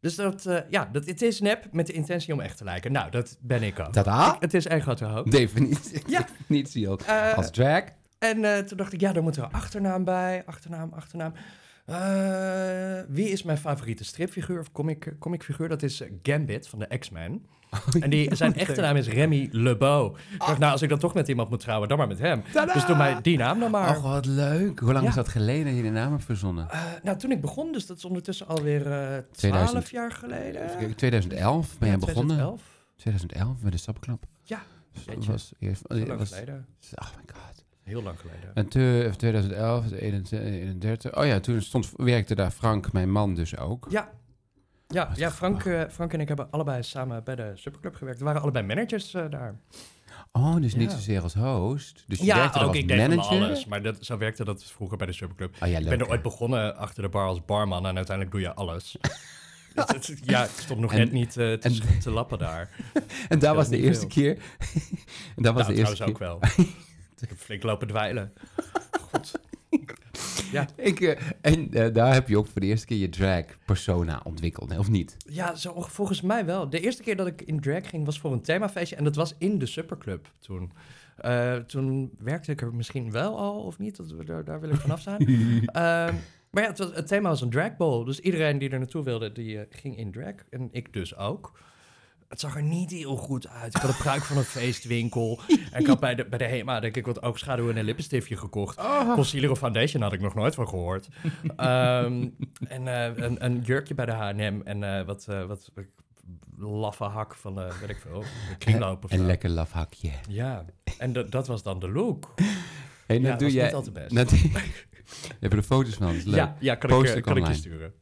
S2: Dus dat, eh, ja, dat, het is nep met de intentie om echt te lijken. Nou, dat ben ik ook.
S1: Tada!
S2: Het is eigenlijk grote hoax.
S1: Definitie.
S2: Ja.
S1: Definitie ook.
S2: Eh,
S1: Als drag.
S2: en eh, toen dacht ik, ja, daar moet er een achternaam bij. Achternaam, achternaam. Eh, wie is mijn favoriete stripfiguur of comic, comicfiguur? Dat is eh, Gambit van de X-Men. en die, zijn echte naam is Remy Lebeau. Ik dacht, nou, als ik dan toch met iemand moet trouwen, dan maar met hem.
S1: Tadaa!
S2: Dus doe mij die naam dan maar.
S1: Och, wat leuk. Hoe lang
S2: Ja.
S1: is dat geleden dat je de naam hebt verzonnen?
S2: Eh, nou, toen ik begon, dus dat is ondertussen alweer eh
S1: 2000.
S2: 12 jaar geleden.
S1: Even kijken, 2011 ben
S2: Ja,
S1: jij begonnen.
S2: 2011.
S1: 2011 met de sapklap.
S2: Ja,
S1: Dus Dat
S2: jeetje.
S1: was eerst.
S2: Zo lang
S1: was- Eh.
S2: geleden.
S1: Oh my god.
S2: Heel lang geleden.
S1: En te- of 2011, 31. Oh ja, toen stond, werkte daar Frank, mijn man, dus ook.
S2: Ja. Ja,
S1: Wat
S2: ja Frank, eh, Frank en ik hebben allebei samen bij de Superclub gewerkt. We waren allebei managers eh, daar.
S1: Oh, dus niet
S2: Ja.
S1: zozeer als host. Dus je
S2: ja,
S1: werkte er
S2: ook
S1: als
S2: ik deed van
S1: manager.
S2: alles. Maar dat, zo werkte dat vroeger bij de Superclub.
S1: Oh ja,
S2: ik
S1: leuk.
S2: ben er
S1: hè?
S2: ooit begonnen achter de bar als barman en uiteindelijk doe je alles. Dus het- ja, ik stond nog
S1: En-
S2: net niet eh, te,
S1: en-
S2: sch- te lappen daar.
S1: en daar
S2: Ja,
S1: was de
S2: niet
S1: eerste
S2: veel.
S1: keer. en dat was
S2: nou,
S1: de eerste
S2: trouwens ook
S1: keer.
S2: wel. ik heb flink lopen dweilen. God.
S1: Ik, eh, en eh, daar heb je ook voor de eerste keer je drag persona ontwikkeld, hè, of niet?
S2: Ja, zo, onge- volgens mij wel. De eerste keer dat ik in drag ging was voor een themafeestje en dat was in de Superclub toen. Eh, toen werkte ik er misschien wel al of niet, dat, daar, daar wil ik vanaf zijn. Ehm, maar ja, het, was- het thema was een drag ball. Dus iedereen die er naartoe wilde, die eh, ging in drag. En ik dus ook. Het zag er niet heel goed uit. Ik had gebruik van een feestwinkel. En ik had bij de, bij de HEMA, denk ik, wat oogschaduw en een lippenstiftje gekocht. Concealer of foundation had ik nog nooit van gehoord. Ehm, en eh, een, een jurkje bij de H&M. En eh, wat, eh, wat laffe hak van, eh weet ik veel, kringloop of
S1: Een
S2: zo.
S1: lekker lafhakje.
S2: Ja, en dat- dat was dan de look.
S1: Hey,
S2: Ja,
S1: dat doe
S2: was
S1: jij.
S2: niet al te best.
S1: net- heb je er foto's van? Dat is leuk.
S2: Ja, ja kan,
S1: Post
S2: ik, eh,
S1: ik
S2: kan ik je
S1: online.
S2: sturen.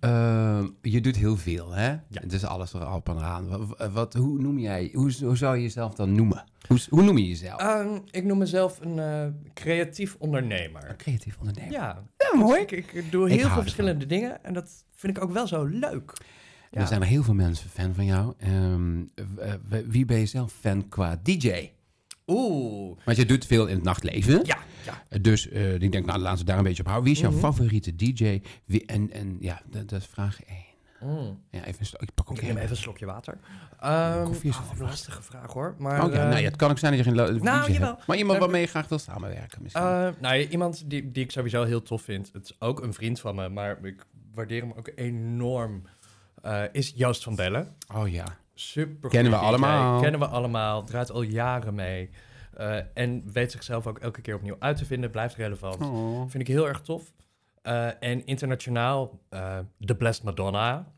S1: Ehm, je doet heel veel, hè?
S2: Ja.
S1: Het is alles erop en aan. Wat, wat, hoe noem jij, hoe, hoe zou je jezelf dan noemen? Hoe, hoe noem je jezelf?
S2: Ehm, ik noem mezelf een eh, creatief ondernemer.
S1: Creatief ondernemer.
S2: Ja,
S1: mooi.
S2: Ik, ik doe
S1: Ik
S2: heel
S1: hou
S2: veel
S1: ervan.
S2: verschillende dingen en dat vind ik ook wel zo leuk. Ja.
S1: Er zijn er heel veel mensen fan van jou. Ehm, eh, eh, wie ben je zelf fan qua DJ?
S2: Oeh,
S1: Want je doet veel in het nachtleven.
S2: ja, ja.
S1: Dus eh, ik denk, nou, laten we daar een beetje op houden. Wie is jouw
S2: Mhm.
S1: favoriete DJ? Wie, en, en ja, dat, dat is vraag 1.
S2: Mm.
S1: Ja, even, een stok- ik pak ook
S2: Ik neem
S1: even.
S2: even een slokje water. Ehm
S1: koffie is
S2: oh,
S1: wel
S2: wat een
S1: vast.
S2: lastige vraag hoor. Maar, ehm,
S1: oh ja, nou ja, het kan ook zijn dat je geen lo-
S2: eh, nou,
S1: visie
S2: jawel.
S1: hebt. Maar iemand
S2: Daar-
S1: waarmee je graag wil samenwerken misschien.
S2: eh, eh, nou ja, iemand die, die ik sowieso heel tof vind, het is ook een vriend van me, maar ik waardeer hem ook enorm, eh, is Joost van Bellen.
S1: oh ja.
S2: Super.
S1: Kennen we allemaal.
S2: Kennen we allemaal. Draait al jaren mee. Eh, en weet zichzelf ook elke keer opnieuw uit te vinden. Blijft relevant.
S1: Oh.
S2: Vind ik heel erg tof. Eh, en internationaal, eh The Blessed Madonna.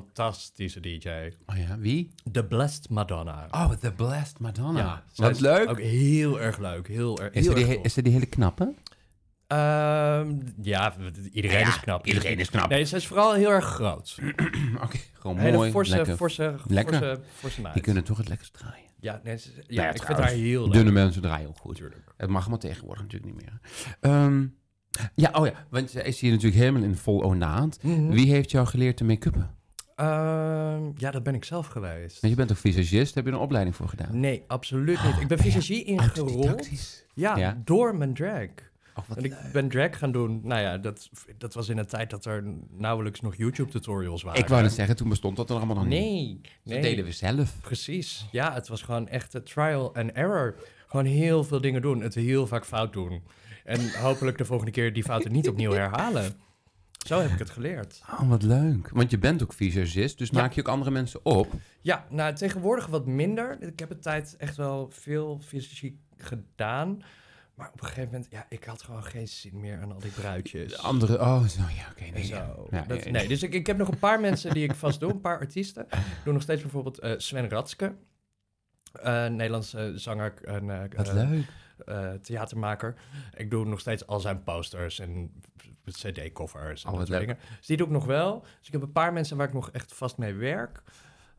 S2: Fantastische DJ.
S1: oh ja, wie?
S2: The Blessed Madonna.
S1: Oh, The Blessed Madonna.
S2: zij
S1: Wat
S2: is
S1: leuk.
S2: Ook heel erg leuk. Heel, erg-
S1: Is
S2: heel
S1: ze, die,
S2: erg
S1: he-
S2: tof.
S1: is ze die hele knappe?
S2: Ehm, ja, iedereen
S1: Ah, Ja,
S2: is knap.
S1: iedereen is knap.
S2: Nee, ze is vooral heel erg groot.
S1: Oké, gewoon
S2: Hele
S1: mooi,
S2: forse,
S1: lekker.
S2: forse,
S1: Lekker.
S2: forse, forse meid.
S1: Die kunnen toch het lekkerst draaien.
S2: Ja, nee, ze-
S1: Nou ja,
S2: ja ik vind haar
S1: trouwens,
S2: heel leuk.
S1: Dunne mensen draaien ook goed.
S2: Natuurlijk.
S1: Het mag maar tegenwoordig natuurlijk niet meer. Ehm, ja, oh ja, want zij is hier natuurlijk helemaal in vol onaand.
S2: Mhm.
S1: Wie heeft jou geleerd te make-uppen?
S2: Ehm, ja, dat ben ik zelf geweest.
S1: Want je bent toch visagist? Heb je er een opleiding voor gedaan? Oh,
S2: Nee, absoluut niet. Ik ben
S1: ben je
S2: visagie ingerold.
S1: Autodidactisch.
S2: Ja,
S1: Ja.
S2: door mijn drag.
S1: Oh, wat
S2: En ik ben drag gaan doen. Nou ja, dat, dat was in een tijd dat er nauwelijks nog YouTube-tutorials waren.
S1: Ik wou net zeggen, toen bestond dat er allemaal nog niet.
S2: Nee, nee.
S1: Dat deden we zelf.
S2: Precies. Ja, het was gewoon echt eh, trial and error. Gewoon heel veel dingen doen. Het heel vaak fout doen. En hopelijk de volgende keer die fouten niet opnieuw herhalen. Zo heb ik het geleerd.
S1: Oh, wat leuk. Want je bent ook visagist, dus
S2: Ja.
S1: maak je ook andere mensen op.
S2: Ja, nou tegenwoordig wat minder. Ik heb een tijd echt wel veel fysiek gedaan. Maar op een gegeven moment, ja, ik had gewoon geen zin meer aan al die bruidjes.
S1: De andere, oh, zo, ja, oké. nee,
S2: En
S1: ja.
S2: zo.
S1: Ja,
S2: Dat-
S1: ja, ja.
S2: nee, dus ik, ik heb nog een paar mensen die ik vast doe, een paar artiesten. Ik doe nog steeds bijvoorbeeld eh, Sven Ratske. eh, Nederlandse zanger en eh,
S1: Wat
S2: eh,
S1: leuk.
S2: eh, theatermaker. Ik doe nog steeds al zijn posters en cd-covers en
S1: Oh,
S2: dat
S1: wat
S2: soort
S1: leuk.
S2: dingen. Dus die doe ik nog wel. Dus ik heb een paar mensen waar ik nog echt vast mee werk.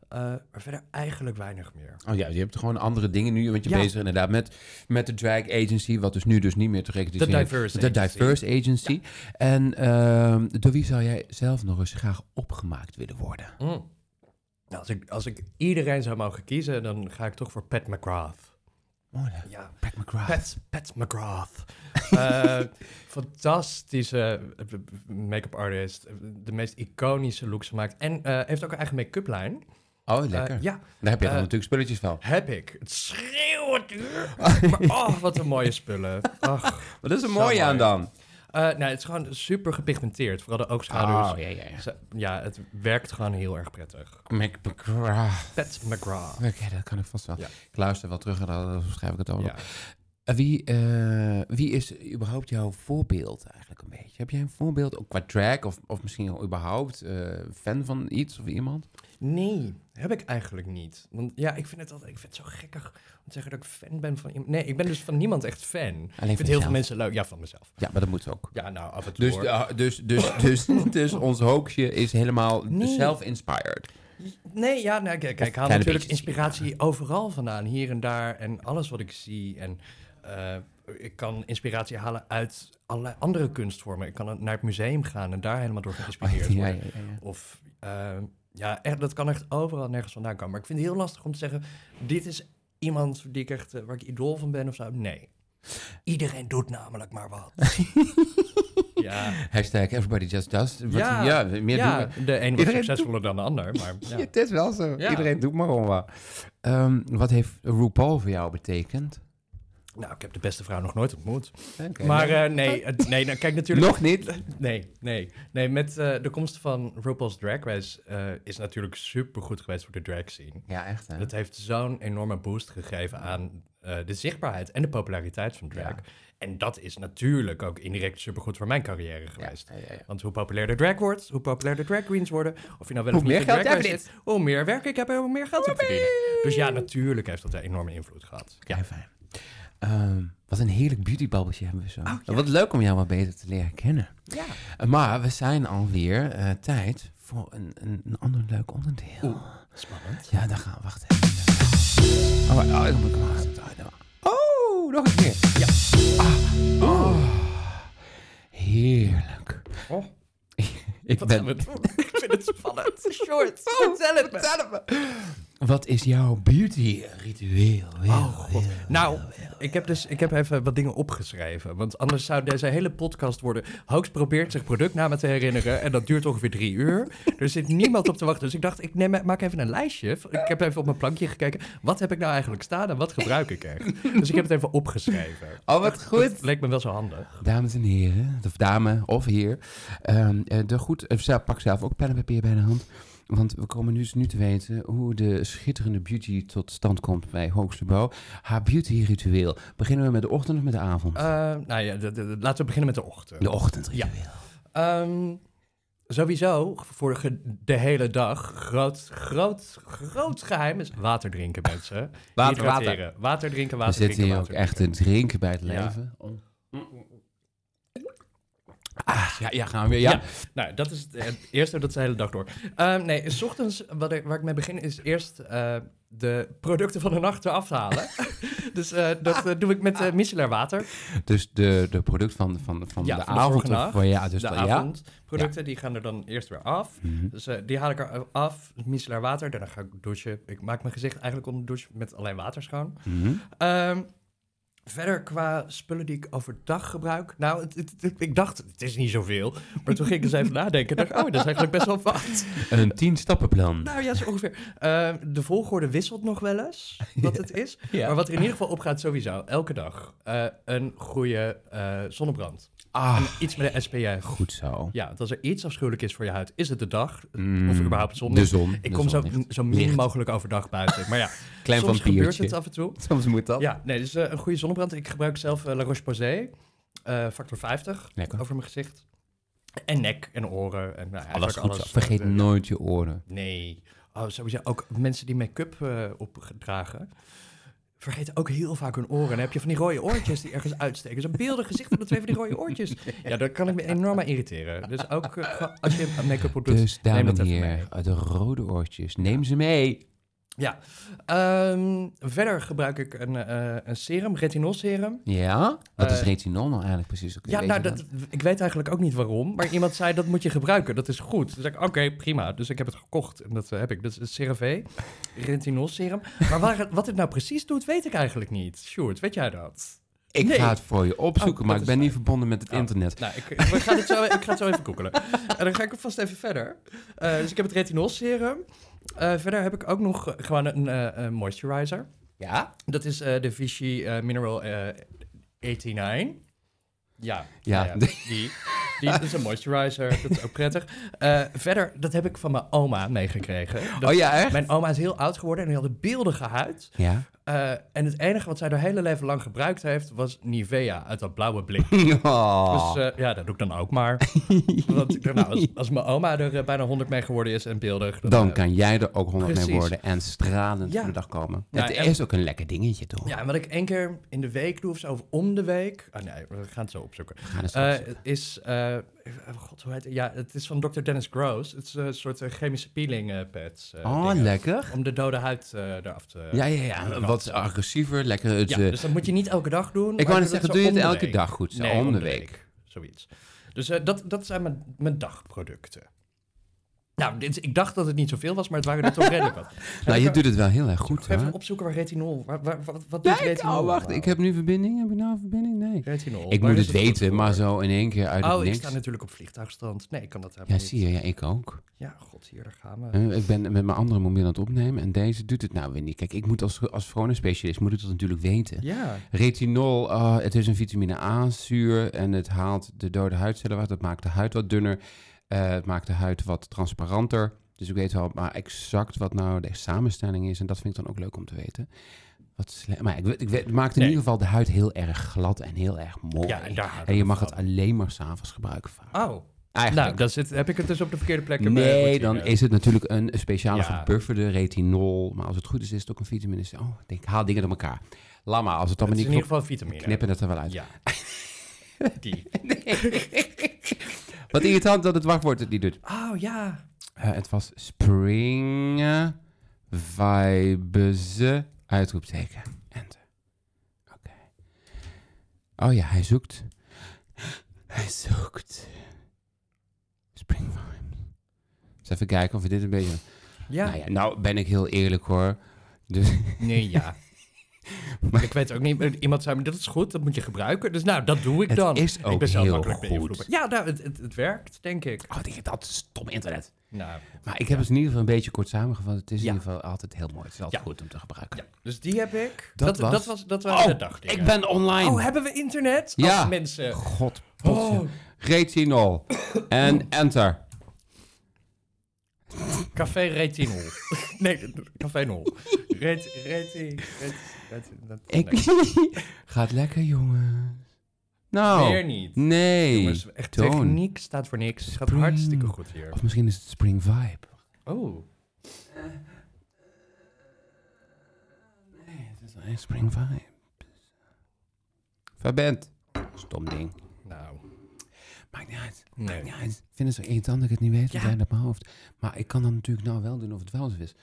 S2: Eh, maar verder eigenlijk weinig meer.
S1: Oh ja, je hebt gewoon andere dingen nu, want je
S2: Ja.
S1: bezig inderdaad met, met de drag agency, wat dus nu dus niet meer te
S2: De
S1: recruiteren is.
S2: diverse.
S1: De
S2: agency.
S1: diverse agency. En ehm, door wie zou jij zelf nog eens graag opgemaakt willen worden?
S2: Mm. Nou, als, ik, als ik iedereen zou mogen kiezen, dan ga ik toch voor Pat McGrath.
S1: Mooi, hè?
S2: Ja,
S1: Oh, Pat McGrath.
S2: Pat, Pat McGrath. Eh, fantastische make-up artist. De meest iconische looks gemaakt. En eh, heeft ook een eigen make-up lijn.
S1: Oh,
S2: Eh,
S1: lekker.
S2: ja,
S1: Daar heb je
S2: eh,
S1: dan natuurlijk spulletjes van.
S2: Heb ik. Het schreeuwt duur. Maar oh, wat een mooie spullen. Ach.
S1: Maar dat is een
S2: zo
S1: mooie
S2: mooi.
S1: aan dan.
S2: Eh, nou, het is gewoon super gepigmenteerd. Vooral de oogschaduws.
S1: Oh, Ah, ja, ja, ja.
S2: Ze- Ja, het werkt gewoon heel erg prettig.
S1: Mac McGrath.
S2: Pat McGraw.
S1: Oké, dat kan ik vast wel.
S2: Ja.
S1: Ik luister wel terug en dan schrijf ik het allemaal
S2: Ja.
S1: op. Eh, Wie, eh, wie is überhaupt jouw voorbeeld eigenlijk een beetje? Heb jij een voorbeeld, ook qua track of, of misschien wel überhaupt eh, fan van iets of iemand?
S2: Nee, heb ik eigenlijk niet. Want ja, ik vind het altijd, ik vind het zo gekkig om te zeggen dat ik fan ben van iemand. Nee, ik ben dus van niemand echt fan. Ik
S1: Alleen
S2: vind heel veel mensen leuk. Ja, van mezelf.
S1: Ja, maar dat moet ook.
S2: Ja, nou, af en toe
S1: Dus,
S2: hoor.
S1: de- dus, dus, dus, dus, ons hoaxje is helemaal
S2: Nee.
S1: self-inspired.
S2: Nee, ja, nou, kijk, kijk, ik haal
S1: kleine
S2: natuurlijk
S1: beetjes.
S2: inspiratie overal vandaan. Hier en daar en alles wat ik zie. En eh, ik kan inspiratie halen uit allerlei andere kunstvormen. Ik kan naar het museum gaan en daar helemaal door geïnspireerd
S1: Oh, ja, ja,
S2: worden.
S1: ja, ja.
S2: Of, eh, ja, echt, dat kan echt overal nergens vandaan komen. Maar ik vind het heel lastig om te zeggen, dit is iemand die ik echt, eh, waar ik idool van ben of zo. Nee. Iedereen doet namelijk maar wat. ja,
S1: Hashtag everybody just does. Wat-
S2: Ja.
S1: ja, meer
S2: ja
S1: doen
S2: de een was
S1: Iedereen
S2: succesvoller dan de ander. Maar,
S1: we.
S2: ja.
S1: Ja, het is wel zo.
S2: Ja.
S1: Iedereen doet maar gewoon wat. Ehm, wat heeft RuPaul voor jou betekend?
S2: Nou, ik heb de beste vrouw nog nooit ontmoet.
S1: Oké.
S2: Maar eh, nee, het- nee nou, kijk natuurlijk.
S1: Nog niet.
S2: Nee, nee. Nee, met eh, de komst van RuPaul's Drag Race eh, is natuurlijk super goed geweest voor de drag scene.
S1: Ja, echt hè?
S2: Dat heeft zo'n enorme boost gegeven aan eh, de zichtbaarheid en de populariteit van drag.
S1: Ja.
S2: En dat is natuurlijk ook indirect supergoed voor mijn carrière
S1: Ja,
S2: geweest.
S1: ja, ja, ja.
S2: Want hoe populairder drag wordt, hoe populairder drag queens worden, of je nou wel of
S1: Hoe
S2: niet
S1: meer
S2: in
S1: geld
S2: drag
S1: jij
S2: race zit, hoe meer werk ik heb en hoe meer geld ik verdien. Dus ja, natuurlijk heeft dat een enorme invloed gehad.
S1: Ja, fijn. Ehm, wat een heerlijk beautybabbeltje hebben we zo.
S2: Oh, ja.
S1: Wat leuk om jou wat beter te leren kennen.
S2: Ja.
S1: Eh, Maar we zijn alweer eh, tijd voor een, een, een ander leuk onderdeel.
S2: Spannend.
S1: Ja, daar gaan we. Wacht even. Oh, wa- oh, ik moet hem aanzetten. Oh, nou. Oh, nog een keer. Ja. Ah, oh. Heerlijk.
S2: Oh.
S1: Ik
S2: Wat
S1: ben...
S2: gaan we doen? ik vind het spannend. Short, Oh, vertel het me.
S1: Wat is jouw beauty ritueel?
S2: Oh, God. Nou, ik heb dus ik heb even wat dingen opgeschreven. Want anders zou deze hele podcast worden. Hoax probeert zich productnamen te herinneren. En dat duurt ongeveer drie uur. Er zit niemand op te wachten. Dus ik dacht, ik neem, maak even een lijstje. Ik heb even op mijn plankje gekeken. Wat heb ik nou eigenlijk staan en wat gebruik ik echt? Dus ik heb het even opgeschreven.
S1: Oh, wat goed.
S2: Dat leek me wel zo handig.
S1: Dames en heren, of dame of heer. ehm, eh, de goed, eh, zelf- pak zelf ook pen en papier bij de hand. Want we komen dus nu te weten hoe de schitterende beauty tot stand komt bij Hoogste Bouw. Haar beauty ritueel. Beginnen we met de ochtend of met de avond?
S2: Eh, nou ja, de- de- de- laten we beginnen met de ochtend.
S1: de ochtendritueel.
S2: Ehm, sowieso, voor ge- de hele dag, groot, groot, groot geheim is water drinken, mensen.
S1: Water,
S2: Hydrateren. Water drinken,
S1: we
S2: water
S1: zitten
S2: drinken,
S1: hier ook
S2: water
S1: echt te
S2: drinken.
S1: drinken bij het
S2: Ja.
S1: leven. Ah, ja, ja, gaan we weer. Ja.
S2: Ja. Nou, dat is het, het eerste, dat is de hele dag door. Ehm, nee, s ochtends, wat ik, waar ik mee begin, is eerst eh, de producten van de nacht eraf te halen. dus eh, dat eh, doe ik met eh micellair water.
S1: Dus de, de product van, van, van
S2: Ja,
S1: de
S2: van de
S1: avond.
S2: vorige nacht.
S1: of- ja, dus
S2: de
S1: dan- ja.
S2: avondproducten, die gaan er dan eerst weer af.
S1: Mhm.
S2: Dus eh, die haal ik er af, micellair water, daarna ga ik douchen. Ik maak mijn gezicht eigenlijk onder de douche met alleen water schoon.
S1: Mhm.
S2: Ehm, Verder qua spullen die ik overdag gebruik. Nou, het, het- het- ik dacht, het is niet zoveel. Maar toen ging ik eens even nadenken. en dacht, oh, dat is eigenlijk best wel wat.
S1: Een tien stappenplan.
S2: Nou ja, zo ongeveer. Eh, de volgorde wisselt nog wel eens wat het is. Maar wat er in ieder geval opgaat sowieso, elke dag, eh, een goede eh, zonnebrand.
S1: Ah,
S2: En iets met een SPF.
S1: goed zo.
S2: Ja, want als er iets afschuwelijk is voor je huid, is het de dag.
S1: Mm,
S2: Of überhaupt zon.
S1: De zon.
S2: Ik
S1: de
S2: kom zo,
S1: zonlicht.
S2: zo min
S1: Licht.
S2: mogelijk overdag buiten. Maar ja,
S1: Klein
S2: soms gebeurt
S1: vampiertje.
S2: het af en toe.
S1: Soms moet dat.
S2: Ja, nee, dus eh, een goede zonnebrand. Ik gebruik zelf eh, La Roche-Posay, eh, factor 50,
S1: Lekker.
S2: over mijn gezicht. En nek en oren. En, nou,
S1: Alles
S2: eigenlijk
S1: goed zo. Vergeet
S2: Eh,
S1: nooit je oren.
S2: Nee. Oh, sowieso ook mensen die make-up eh, opdragen. Vergeten ook heel vaak hun oren. Dan heb je van die rode oortjes die ergens uitsteken. Zo'n beeldig gezicht met twee van die rode oortjes. Ja, daar kan ik me enorm aan irriteren. Dus ook eh, als je make-up op doet.
S1: Dus, dames en
S2: dat even
S1: heren, de rode oortjes, neem ze mee.
S2: Ja. Ehm, verder gebruik ik een, eh, een serum, retinol serum.
S1: Ja? Wat is
S2: Eh,
S1: retinol nou eigenlijk precies? Ik
S2: Ja,
S1: weet
S2: nou,
S1: het
S2: dat, ik weet eigenlijk ook niet waarom. Maar iemand zei, dat moet je gebruiken. Dat is goed. Dus ik, oké, prima. Dus ik heb het gekocht. En dat eh, heb ik. Dat is het CeraVe, retinol serum. Maar waar, wat het nou precies doet, weet ik eigenlijk niet. Sjoerd, weet jij dat?
S1: Ik
S2: Nee.
S1: ga het voor je opzoeken,
S2: Oh,
S1: maar
S2: dat
S1: ik
S2: is
S1: ben niet
S2: fijn.
S1: verbonden met het
S2: Oh.
S1: internet.
S2: Nou, ik, we gaan het zo, ik ga het zo even googelen. En dan ga ik vast even verder. Eh, dus ik heb het retinol serum. Eh, verder heb ik ook nog eh, gewoon een eh, eh, moisturizer.
S1: Ja?
S2: Dat is eh, de Vichy eh, Mineral eh 89. Ja,
S1: Ja.
S2: nou die. Die dat is een moisturizer, dat is ook prettig. Eh, verder, dat heb ik van mijn oma meegekregen. Dat-
S1: oh ja, echt?
S2: Mijn oma is heel oud geworden en die had een beeldige huid.
S1: Ja.
S2: Eh, en het enige wat zij haar hele leven lang gebruikt heeft, was Nivea uit dat blauwe blik.
S1: Oh.
S2: Dus eh, ja, dat doe ik dan ook maar. Want ik dacht, nou, als, als mijn oma er eh, bijna 100 mee geworden is en beeldig...
S1: dan
S2: eh,
S1: kan jij er ook honderd mee
S2: precies.
S1: worden en stralend
S2: Ja.
S1: voor de dag komen.
S2: Ja,
S1: het
S2: en-
S1: is ook een lekker dingetje, toch?
S2: Ja, en wat ik één keer in de week doe of zo, of om de week... Ah nee, we gaan het zo opzoeken.
S1: We gaan er straks-
S2: Eh, is, eh, oh god, hoe heet het? Ja, het is van Dr. Dennis Gross. Het is een soort eh, chemische peeling eh, pads. eh,
S1: oh,
S2: dingen.
S1: lekker.
S2: Om de dode huid eh, eraf te...
S1: Ja, ja, ja. Wat agressiever, lekker. Het,
S2: Ja,
S1: eh,
S2: dus dat moet je niet elke dag doen.
S1: ik
S2: maar
S1: wou
S2: dat
S1: net zeggen,
S2: zo
S1: doe je
S2: om
S1: het
S2: de
S1: elke
S2: week.
S1: dag goed? Zo,
S2: Nee,
S1: om de week.
S2: Zoiets. Dus eh, dat, dat zijn mijn, mijn dagproducten. Nou, dit, ik dacht dat het niet zoveel was, maar het waren er toch redelijk wat.
S1: Nou, je
S2: ik,
S1: doet het wel heel erg goed,
S2: ga even
S1: hoor.
S2: opzoeken waar retinol... Waar, waar- wat, wat doet
S1: Kijk,
S2: retinol?
S1: oh, wacht.
S2: nou?
S1: Ik heb nu verbinding. Heb ik nou een verbinding? Nee.
S2: Retinol.
S1: Ik
S2: waar
S1: moet
S2: is
S1: het
S2: goed
S1: weten,
S2: voor?
S1: maar zo in één keer uit het
S2: Oh, ik
S1: niks.
S2: sta natuurlijk op vliegtuigstand. Nee, ik kan dat helemaal
S1: Ja,
S2: niet.
S1: zie je. Ja, ik ook.
S2: Ja, god, hier, daar gaan we.
S1: Eh, ik ben met mijn andere mobiel aan het opnemen en deze doet het nou weer niet. Kijk, ik moet als, als specialist moet ik dat natuurlijk weten.
S2: Ja.
S1: Retinol, ah, het is een vitamine A-zuur en het haalt de dode huidcellen weg. Dat maakt de huid wat dunner, eh, het maakt de huid wat transparanter. Dus ik weet wel maar exact wat nou de samenstelling is en dat vind ik dan ook leuk om te weten. Wat sle- maar ik, weet- ik weet- het maakt in
S2: Nee.
S1: ieder geval de huid heel erg glad en heel erg mooi.
S2: Ja, en daar houden
S1: en Oh, je
S2: we
S1: mag
S2: van.
S1: het alleen maar s'avonds gebruiken vaak.
S2: Oh,
S1: Eigenlijk.
S2: nou, dan zit, heb ik het dus op de verkeerde plek. in mijn
S1: Nee,
S2: routine.
S1: dan is het natuurlijk een
S2: Ja.
S1: speciale gebufferde retinol. Maar als het goed is, is het ook een vitamine C. Oh, ik denk, haal dingen door elkaar. Laat maar, als het dan
S2: het
S1: maar
S2: is in
S1: niet
S2: ieder
S1: klopt,
S2: geval vitamine.
S1: knippen het er wel uit.
S2: Ja. Die.
S1: Wat irritant dat het wachtwoord het niet doet.
S2: Oh ja.
S1: Eh, het was spring vibes uitroepteken. Enter. Oké. Oh ja, hij zoekt. Hij zoekt. Spring vibes. Dus even kijken of we dit een beetje...
S2: Ja.
S1: Nou, ja, nou ben ik heel eerlijk hoor. Dus
S2: Nee, ja.
S1: Maar-
S2: ik weet ook niet. maar Iemand zei, me, dat is goed, dat moet je gebruiken. Dus nou, dat doe ik
S1: het
S2: dan.
S1: is ook
S2: ik ben zelf
S1: heel
S2: makkelijk
S1: goed.
S2: beïnvloedbaar. Ja, nou, het, het, het werkt, denk ik.
S1: Oh, die, dat stom internet.
S2: Nou,
S1: Maar ik heb het in ieder geval een beetje kort samengevat. Het is
S2: Ja.
S1: in ieder geval altijd heel mooi. Het is altijd
S2: Ja.
S1: goed om te gebruiken.
S2: ja. Dus die heb ik.
S1: Dat was-
S2: Dat, was, dat waren
S1: Oh,
S2: de dagdingen.
S1: Ik ben online.
S2: Oh, hebben we internet?
S1: Ja.
S2: Oh, mensen.
S1: God, potje.
S2: Oh,
S1: Retinol. en enter.
S2: Café Retinol. nee, Café Nol. Ret, reti, ret, ret, dat-
S1: Ik...
S2: nee.
S1: Gaat lekker, jongen. Nou,
S2: Weer niet.
S1: nee.
S2: Jongens, echt
S1: Toon.
S2: techniek staat voor niks. Het gaat
S1: Spring.
S2: hartstikke goed hier.
S1: Of misschien is het Spring Vibe.
S2: Oh.
S1: Nee, het is alleen Spring Vibe. Verbent. Stom ding.
S2: Nou,
S1: Maakt niet uit.
S2: nee.
S1: Ja, het- ik vind het zo irritant dat ik het niet weet. want
S2: Ja.
S1: jij hebt het op mijn hoofd. Maar ik kan dan natuurlijk nou wel doen of het wel zo is.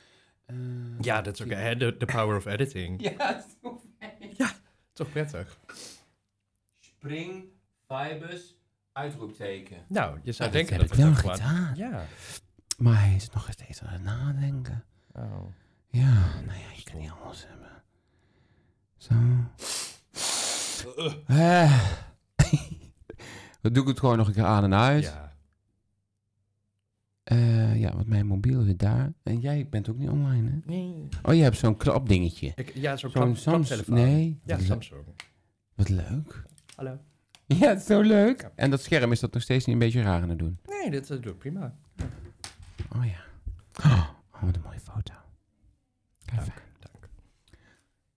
S1: Eh,
S2: Ja, dat is ook hè, de, de power of editing.
S1: Ja, toch.
S2: Toch prettig.
S1: Spring, Vibes, uitroepteken.
S2: Nou, je zou
S1: dat
S2: denken
S1: heb
S2: dat we
S1: ik wel
S2: dat gewoon...
S1: gedaan.
S2: Ja.
S1: Maar hij is nog steeds aan het nadenken.
S2: Oh.
S1: Ja, nou ja, je kan niet alles hebben. Zo. Eh. Dan doe ik het gewoon nog een keer aan en uit. Ja,
S2: Ja.
S1: ja want mijn mobiel zit daar. En jij bent ook niet online, hè?
S2: Nee.
S1: Oh, je hebt zo'n klapdingetje.
S2: Ik, ja, zo'n
S1: Zo'n
S2: klap,
S1: Samsung.
S2: klaptelefoon.
S1: Nee.
S2: Ja,
S1: wat, le-
S2: Samsung.
S1: wat leuk.
S2: Hallo.
S1: Ja, het is zo leuk.
S2: Ja.
S1: En dat scherm is dat nog steeds niet een beetje raar aan het doen.
S2: Nee, dit eh, doet prima.
S1: Oh ja. Oh, wat een mooie foto. Kijk,
S2: Dank, dank.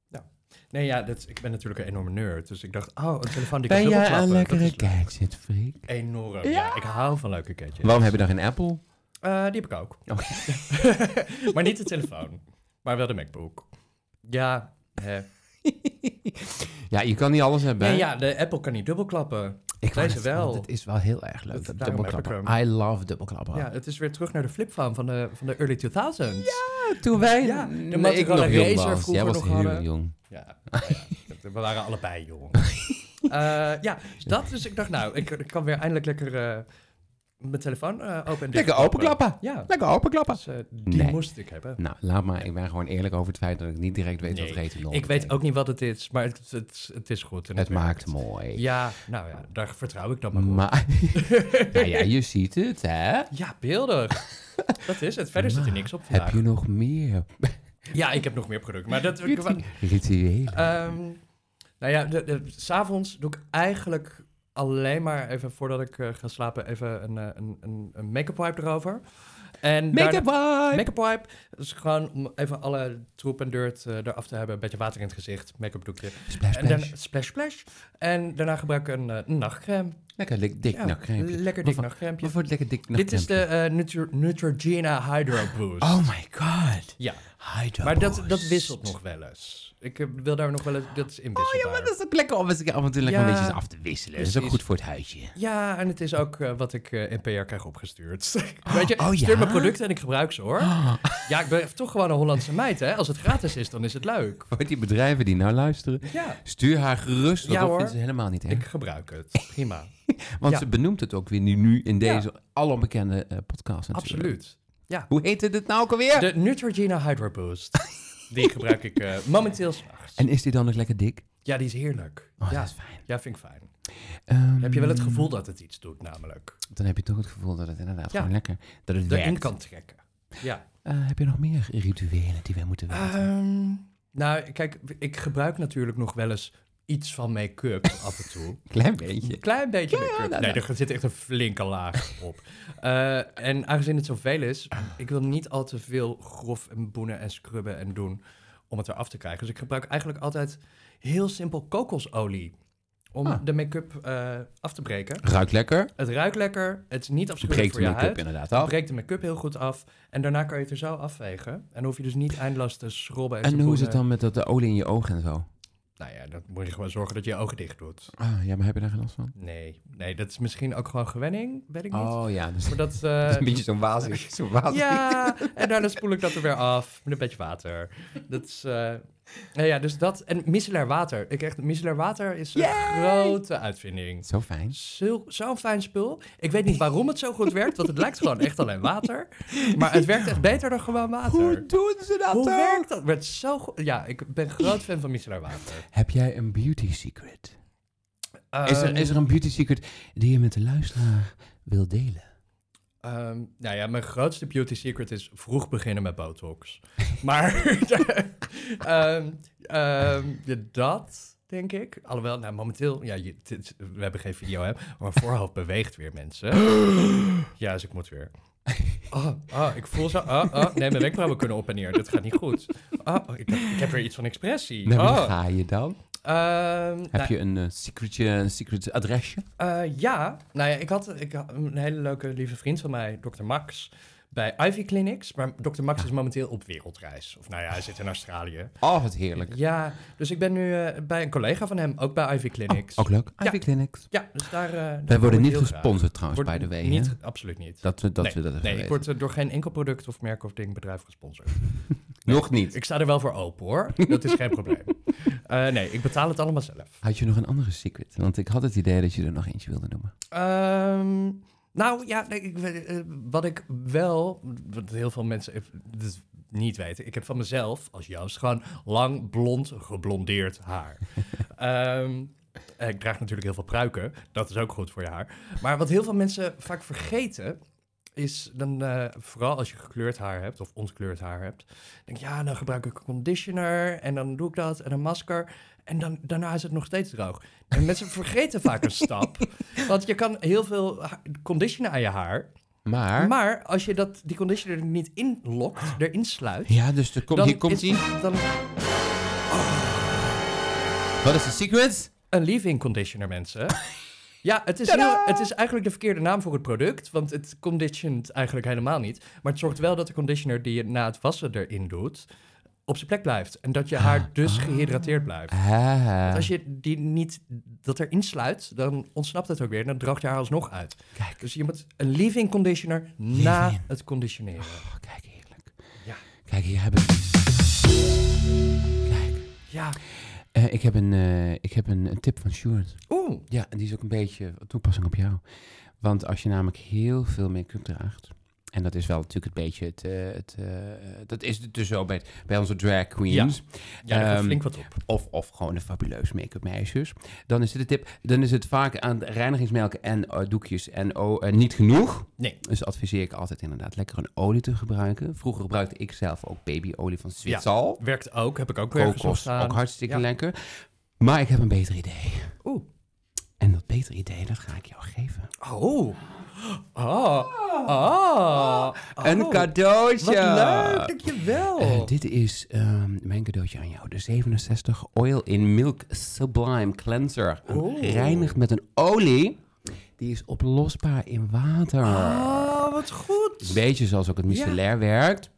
S2: Nou, nee, ja, dat, is- ik ben natuurlijk een enorme nerd. Dus ik dacht, oh, een telefoon die kan
S1: Ben jij
S2: dubbelklappen.
S1: een
S2: dat
S1: lekkere
S2: is leuk.
S1: kijkzitfreak?
S2: Enorm,
S1: Ja.
S2: ja. Ik hou van leuke keetjes.
S1: Waarom heb je daar geen Apple?
S2: Eh, die heb ik ook.
S1: Oh.
S2: maar niet de telefoon. Maar wel de MacBook. Ja, hè.
S1: Ja, je kan niet alles hebben.
S2: Nee,
S1: hè?
S2: ja, de Apple kan niet dubbelklappen.
S1: ik
S2: deze wel.
S1: Het is wel heel erg leuk,
S2: Dat-
S1: dat
S2: daarom heb ik
S1: dubbelklappen. I love dubbelklappen.
S2: Ja, het is weer terug naar de flipphone van de, van de early 2000s.
S1: Toen wij...
S2: Ja, de
S1: nee, ik
S2: Motorola
S1: nog Dus- jong
S2: Razr
S1: was. Jij
S2: vroeger
S1: was
S2: nog
S1: heel
S2: hadden.
S1: jong.
S2: Ja, nou ja, we waren allebei jong. Eh, ja, dus dat. Dus ik dacht, nou, ik, ik kan weer eindelijk lekker eh, mijn telefoon eh, open en dicht
S1: Lekker openklappen.
S2: Ja,
S1: Lekker openklappen.
S2: dus, eh, die
S1: Nee.
S2: moest ik hebben.
S1: Nou, laat maar. Ik ben gewoon eerlijk over het feit dat ik niet direct weet wat
S2: Nee,
S1: retinol
S2: Ik weet ook niet wat het is, maar het, het, het is goed. en
S1: Het maakt
S2: werkt.
S1: mooi.
S2: Ja, nou ja, daar vertrouw ik dan maar op.
S1: Maar... nou ja, je ziet het, hè?
S2: Ja, beeldig. dat is het. Verder zit er
S1: Maar
S2: niks op
S1: Heb
S2: vandaag.
S1: je nog meer
S2: Ja, ik heb nog meer producten, maar dat...
S1: ritu- rituelen?
S2: Ehm, nou ja, de, de, s'avonds doe ik eigenlijk alleen maar even voordat ik eh, ga slapen even een, eh, een, een, een make-up wipe erover. En daarna-
S1: Make-up vibe!
S2: Make-up wipe is gewoon om even alle troep en dirt eh, eraf te hebben. Een beetje water in het gezicht, make-up doekje.
S1: Splash,
S2: En
S1: splash.
S2: dan splash splash. En daarna gebruik ik een, eh, een nachtcreme.
S1: Lekker dik, dik
S2: Ja,
S1: nachtkreepje.
S2: Lekker
S1: Wat
S2: dik
S1: voor-
S2: nachtcreme.
S1: Wat voor lekker dik
S2: Dit is de
S1: nachtkreepje?
S2: eh, Nutri- Neutrogena Hydro Boost.
S1: Oh my god.
S2: Ja,
S1: Hydro
S2: maar dat,
S1: Boost.
S2: dat wisselt nog wel eens. Ik eh, wil daar nog wel eens... Dat is inwisselbaar.
S1: Oh, Maar dat is ook lekker om eens af en toe lekker een
S2: Ja,
S1: beetje eens af te wisselen. Dat is ook
S2: precies.
S1: goed voor het huidje.
S2: Ja, en het is ook eh, wat ik eh, in PR krijg opgestuurd. Weet je,
S1: Oh, ja? Oh.
S2: stuur mijn producten en ik gebruik ze hoor. Ja, ik ben toch gewoon een Hollandse meid, hè? Als het gratis is, dan is het leuk.
S1: Voor die bedrijven die nou luisteren,
S2: Ja,
S1: stuur haar gerust. Want
S2: Ja,
S1: dat
S2: hoor.
S1: vindt ze helemaal niet
S2: ik
S1: erg.
S2: gebruik het. Prima.
S1: Want
S2: ja.
S1: ze benoemt het ook weer nu, nu in deze allerbekende eh, podcast natuurlijk.
S2: Absoluut.
S1: Hoe heette dit nou ook alweer?
S2: De Neutrogena Hydro Boost. Die gebruik ik eh, momenteel s'nachts.
S1: En is die dan nog lekker dik?
S2: Ja, die is heerlijk.
S1: Oh,
S2: ja.
S1: dat is fijn.
S2: ja, vind ik fijn.
S1: Ehm,
S2: Heb je wel het gevoel dat het iets doet, namelijk?
S1: Dan heb je toch het gevoel dat het inderdaad
S2: Ja.
S1: gewoon lekker... Dat het
S2: Daarin
S1: werkt.
S2: kan trekken. Ja.
S1: Eh, heb je nog meer rituelen die wij moeten weten?
S2: Ehm, nou, kijk, ik gebruik natuurlijk nog wel eens iets van make-up af en toe.
S1: Klein beetje.
S2: Een klein beetje make-up.
S1: nou,
S2: nee, er zit echt een flinke laag op. Eh, en aangezien het zoveel is, ik wil niet al te veel grof en boenen en scrubben en doen om het eraf te krijgen. Dus ik gebruik eigenlijk altijd heel simpel kokosolie om
S1: Ah.
S2: de make-up eh, af te breken.
S1: Ruikt lekker.
S2: Het ruikt lekker, het is niet afschuwelijk voor
S1: Breekt de
S2: je
S1: make-up
S2: huid.
S1: inderdaad
S2: Het
S1: af.
S2: breekt de make-up heel goed af en daarna kan je het er zo afvegen. En hoef je dus niet eindeloos te schrobben en, te
S1: En hoe is eh, het
S2: boenen.
S1: dan met dat de olie in je ogen en zo?
S2: Nou ja, dan moet je gewoon zorgen dat je je ogen dicht doet.
S1: Ah, ja, maar heb je daar geen last van?
S2: Nee, nee, dat is misschien ook gewoon gewenning, weet ik niet.
S1: Oh ja, dus
S2: Maar
S1: dat
S2: dat, eh,
S1: is een beetje zo'n wazig. Zo'n wazig.
S2: Ja, en daarna spoel ik dat er weer af met een beetje water. Dat is, eh, nou ja, dus dat. En micellair water. Ik echt, micellair water is een
S1: Yay!
S2: grote uitvinding.
S1: Zo fijn.
S2: Zul- Zo'n fijn spul. Ik weet niet waarom het zo goed werkt, want het lijkt gewoon echt alleen water. Maar het werkt echt beter dan gewoon water.
S1: doen ze dat
S2: Hoe werkt dat? Werd zo goed. Ja, ik ben groot fan van micellair water.
S1: Heb jij een beauty secret? Is
S2: Eh,
S1: er, is er een beauty secret die je met de luisteraar wil delen?
S2: Ehm, nou ja, mijn grootste beauty secret is vroeg beginnen met botox. Maar ehm, ehm, ja, dat denk ik. Alhoewel, nou momenteel, ja, je- dit- we hebben geen video, hè, maar mijn voorhoofd beweegt weer, mensen. Ja, dus ik moet weer. Oh, oh, ik voel zo. Oh, oh, nee, mijn wenkbrauwen kunnen op en neer. Dit gaat niet goed. Oh, ik, dacht, ik heb weer iets van expressie.
S1: Naar wie
S2: Oh,
S1: ga je dan?
S2: ehm, nou,
S1: Heb je een eh, secretje, een secret adresje?
S2: eh, ja, nou ja, ik had, ik had een hele leuke lieve vriend van mij, Dr. Max, bij Ivy Clinics. Maar Dr. Max is momenteel op wereldreis. Of nou ja, hij zit in Australië.
S1: Oh, wat heerlijk.
S2: Ja, dus ik ben nu eh, bij een collega van hem, ook bij Ivy Clinics.
S1: Oh, Ook leuk.
S2: Ja.
S1: Ivy Clinics.
S2: Ja, dus daar... eh, daar
S1: Wij
S2: kom
S1: worden
S2: ik
S1: niet
S2: heel graag.
S1: gesponsord trouwens, by
S2: Wordt
S1: the way. hè?
S2: Niet, absoluut niet.
S1: Dat we dat,
S2: nee,
S1: we dat even
S2: nee ik
S1: weten.
S2: word eh, door geen enkel product of merk of ding bedrijf gesponsord. Dus
S1: Nog niet.
S2: Ik sta er wel voor open hoor, dat is geen probleem. Eh, nee, ik betaal het allemaal zelf.
S1: Had je nog een andere secret? Want ik had het idee dat je er nog eentje wilde noemen.
S2: Ehm, nou ja, nee, ik, weet- eh, wat ik wel, wat heel veel mensen even- dit niet weten, ik heb van mezelf, als Joost, gewoon lang blond geblondeerd haar. Ehm, Eh, ik draag natuurlijk heel veel pruiken. Dat is ook goed voor je haar. Maar wat heel veel mensen vaak vergeten, is dan eh, vooral als je gekleurd haar hebt of ontkleurd haar hebt. Denk je, ja, dan gebruik ik een conditioner en dan doe ik dat en een masker. En dan, daarna is het nog steeds droog. En mensen vergeten vaak een stap. Want je kan heel veel ha- conditioner aan je haar.
S1: Maar,
S2: Maar als je dat, die conditioner er niet in lokt, erin sluit.
S1: ja, dus er komt,
S2: dan
S1: hier komt
S2: is-
S1: ie.
S2: Dan
S1: Wat is de sequence?
S2: een leave-in conditioner, mensen. Ja, het is,
S1: Tadaa!
S2: heel- het is eigenlijk de verkeerde naam voor het product, want het conditioned eigenlijk helemaal niet. Maar het zorgt wel dat de conditioner die je na het wassen erin doet, op zijn plek blijft. En dat je haar dus gehydrateerd blijft.
S1: Ah,
S2: Want als je die niet dat erin sluit, dan ontsnapt het ook weer en dan droogt je haar alsnog uit.
S1: Kijk.
S2: Dus je moet een leave-in conditioner na
S1: Leave-in.
S2: het conditioneren.
S1: Oh, kijk, heerlijk.
S2: Ja.
S1: Kijk, hier heb ik... Kijk,
S2: Ja,
S1: eh, ik heb, een, eh, ik heb een, een tip van Sjoerd.
S2: oeh.
S1: Ja, en die is ook een beetje toepassing op jou. Want als je namelijk heel veel make-up draagt. En dat is wel natuurlijk een beetje het. eh, het eh, dat is het dus zo bij, bij onze drag queens.
S2: Ja, daar komt
S1: Ehm,
S2: flink wat op.
S1: Of, of gewoon de fabuleus make-up meisjes. Dan is dit de tip. Dan is het vaak aan reinigingsmelk en eh, doekjes en oh, eh, niet genoeg.
S2: Nee.
S1: Dus adviseer ik altijd inderdaad lekker een olie te gebruiken. Vroeger gebruikte ik zelf ook babyolie van Zwitsal.
S2: Werkt ook, heb ik ook weer gezocht
S1: Kokos,
S2: aan.
S1: ook hartstikke
S2: Ja.
S1: lekker. Maar ik heb een beter idee.
S2: Oeh.
S1: En dat betere idee, dat ga ik jou geven.
S2: Oh. Ah. Ah.
S1: Een
S2: Oh.
S1: cadeautje.
S2: Wat leuk, dankjewel.
S1: Eh, dit is ehm, mijn cadeautje aan jou. De 67 Oil in Milk Sublime Cleanser.
S2: Oh.
S1: Reinigt met een olie. Die is oplosbaar in water.
S2: Ah, wat
S1: Een
S2: goed.
S1: beetje zoals ook het micellair werkt.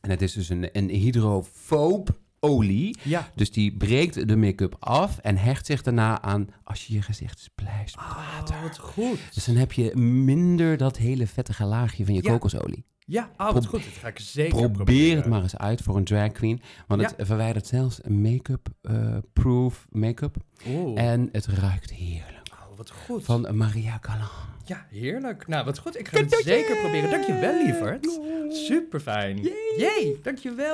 S1: En het is dus een, een hydrofoob olie.
S2: Ja.
S1: Dus die breekt de make-up af en hecht zich daarna aan als je je gezicht splijst.
S2: Ah, wat goed.
S1: Dus dan heb je minder dat hele vettige laagje van je
S2: Ja.
S1: kokosolie.
S2: Ja, ah, wat goed. Dat ga ik zeker
S1: Probeer het maar eens uit voor een drag queen. Want
S2: Ja.
S1: het verwijdert zelfs make-up-proof make-up.
S2: Oeh.
S1: En het ruikt heerlijk.
S2: Oh, wat goed.
S1: Van Maria Callan.
S2: Ja, heerlijk. Nou, wat goed. Ik ga het zeker proberen. Dankjewel, lieverd. Super fijn. Jee, dankjewel.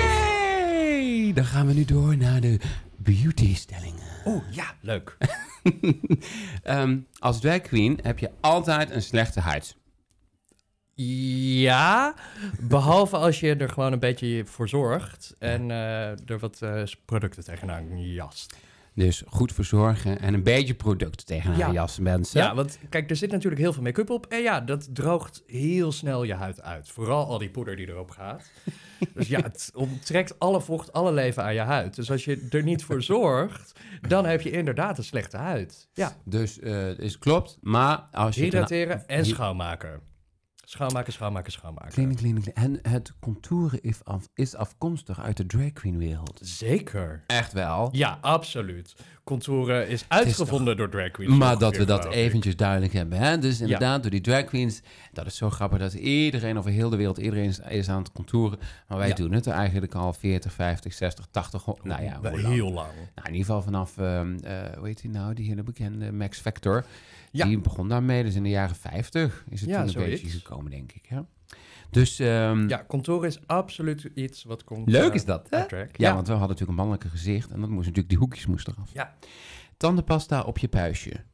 S1: Yay! Dan gaan we nu door naar de beauty-stellingen.
S2: Oeh, ja, leuk.
S1: Ehm, als drag queen heb je altijd een slechte huid.
S2: Ja, behalve als je er gewoon een beetje voor zorgt en eh, er wat eh, producten tegenaan jast.
S1: Dus goed verzorgen en een beetje product tegen haar
S2: Ja.
S1: jas, mensen.
S2: Ja, want kijk, er zit natuurlijk heel veel make-up op. En ja, dat droogt heel snel je huid uit. Vooral al die poeder die erop gaat. dus ja, het onttrekt alle vocht, alle leven aan je huid. Dus als je er niet voor zorgt, dan heb je inderdaad een slechte huid. Ja,
S1: Dus eh is klopt, maar als je...
S2: hydrateren en
S1: nou- Hy-
S2: schoonmaken. Schoonmaken, schoonmaken, schoonmaken.
S1: Cleaning, cleaning, cleaning. En het contouren is, af- is afkomstig uit de drag queen wereld.
S2: Zeker.
S1: Echt wel.
S2: Ja, absoluut. Contouren is uitgevonden door drag queens.
S1: Maar dat
S2: ongeveer,
S1: we dat
S2: geloof ik.
S1: eventjes duidelijk hebben. Hè? Dus inderdaad, door die drag queens. Dat is zo grappig dat iedereen over heel de wereld, iedereen is, is aan het contouren. Maar wij
S2: Ja.
S1: doen het eigenlijk al 40, 50, 60, 80. ho- Nou ja, hoe lang?
S2: heel lang.
S1: Nou, in ieder geval vanaf, ehm, eh, hoe heet hij nou, die hele bekende Max Factor.
S2: Ja.
S1: Die begon daarmee, dus in de jaren 50 is het
S2: Ja,
S1: toen een
S2: zoiets.
S1: beetje gekomen, denk ik. Hè? Dus ehm,
S2: Ja, contouren is absoluut iets wat komt.
S1: leuk
S2: eh,
S1: is dat, hè?
S2: uit drag.
S1: Ja, want we hadden natuurlijk een mannelijke gezicht en dat moest natuurlijk, die hoekjes moesten eraf.
S2: Ja.
S1: Tandenpasta op je puistje.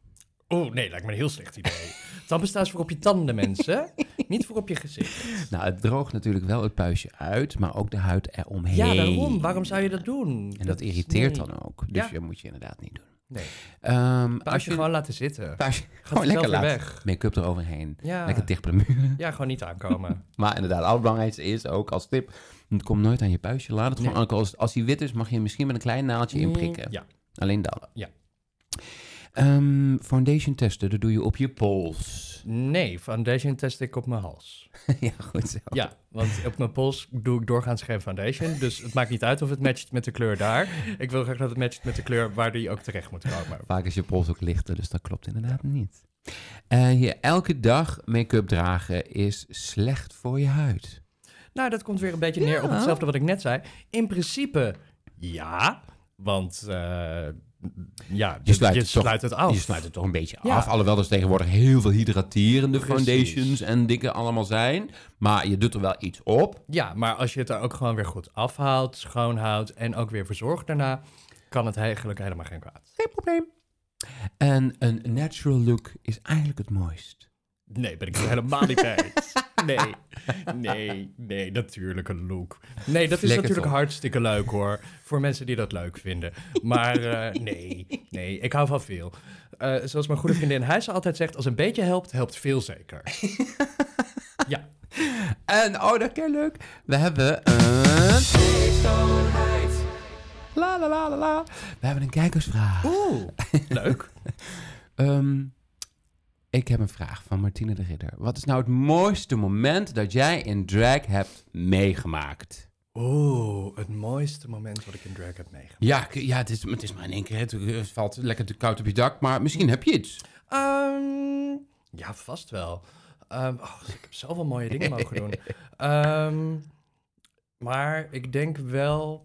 S2: Oh nee, lijkt me een heel slecht idee. Tandpasta is voor op je tanden, mensen. Niet voor op je gezicht.
S1: Nou, het droogt natuurlijk wel het puistje uit, maar ook de huid eromheen.
S2: Ja, daarom. Waarom zou je dat doen?
S1: En dat irriteert
S2: nee.
S1: dan ook. Dus
S2: Ja.
S1: je moet je inderdaad niet doen.
S2: Nee.
S1: Ehm,
S2: Als je gewoon laten zitten.
S1: puistje
S2: Gaat
S1: gewoon
S2: het
S1: Oh, lekker
S2: zelf weer
S1: laten.
S2: weg.
S1: Make-up eroverheen.
S2: Ja.
S1: Lekker dicht bij de muur.
S2: Ja, gewoon niet aankomen.
S1: Maar inderdaad, het allerbelangrijkste is ook als tip: het komt nooit aan je puistje. Laat het gewoon. aan. Als, als die wit is, mag je hem misschien met een klein naaltje inprikken.
S2: Mm. Ja.
S1: Alleen dat.
S2: Ja.
S1: Ehm, foundation testen, dat doe je op je pols.
S2: Nee, foundation test ik op mijn hals.
S1: ja, goed zo.
S2: Ja, want op mijn pols doe ik doorgaans geen foundation. Dus het maakt niet uit of het matcht met de kleur daar. Ik wil graag dat het matcht met de kleur waar die ook terecht moet komen.
S1: Vaak is je pols ook lichter, dus dat klopt inderdaad niet. En je elke dag make-up dragen is slecht voor je huid.
S2: Nou, dat komt weer een beetje neer op
S1: Ja.
S2: hetzelfde wat ik net zei. In principe ja, want eh, ja, dus
S1: Je sluit
S2: je
S1: het toch-
S2: sluit het af.
S1: Je sluit het toch een beetje
S2: Ja.
S1: af. Alhoewel er tegenwoordig heel veel hydraterende
S2: Precies.
S1: foundations en dikke allemaal zijn. Maar je doet er wel iets op.
S2: Ja, maar als je het er ook gewoon weer goed afhaalt, schoonhoudt en ook weer verzorgt daarna, kan het eigenlijk helemaal geen kwaad.
S1: Geen probleem. En een natural look is eigenlijk het mooist.
S2: Nee, ben ik er helemaal niet bij eens. Nee, nee, nee, natuurlijk een look. Nee, dat is
S1: Flikker
S2: natuurlijk
S1: toch.
S2: hartstikke leuk hoor. Voor mensen die dat leuk vinden. Maar eh, nee, nee, ik hou van veel. Eh, zoals mijn goede vriendin Heijsen altijd zegt, als een beetje helpt, helpt veel zeker. Ja,
S1: En, oh, dat is leuk. We hebben een... La la la la la. We hebben een kijkersvraag.
S2: oeh, leuk.
S1: Ehm, ik heb een vraag van Martine de Ridder. Wat is nou het mooiste moment dat jij in drag hebt meegemaakt?
S2: Oeh, het mooiste moment wat ik in drag heb meegemaakt.
S1: Ja, k- ja het, is, het is maar in één keer. Het eh, valt lekker te koud op je dak, maar misschien heb je iets.
S2: Ehm, ja, vast wel. Ehm, oh, ik heb zoveel mooie dingen mogen doen. Ehm, maar ik denk wel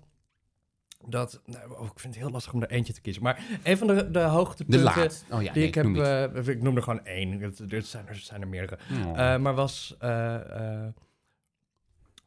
S2: dat... Nou, oh, ik vind het heel lastig om er eentje te kiezen. Maar een van de, de
S1: De
S2: hoogtepunten...
S1: laat. Oh ja,
S2: Die
S1: nee,
S2: ik, heb,
S1: noem niet.
S2: eh, ik noem er gewoon één. Het- Er zijn er, zijn er meerdere.
S1: Oh.
S2: Eh, maar was eh, eh,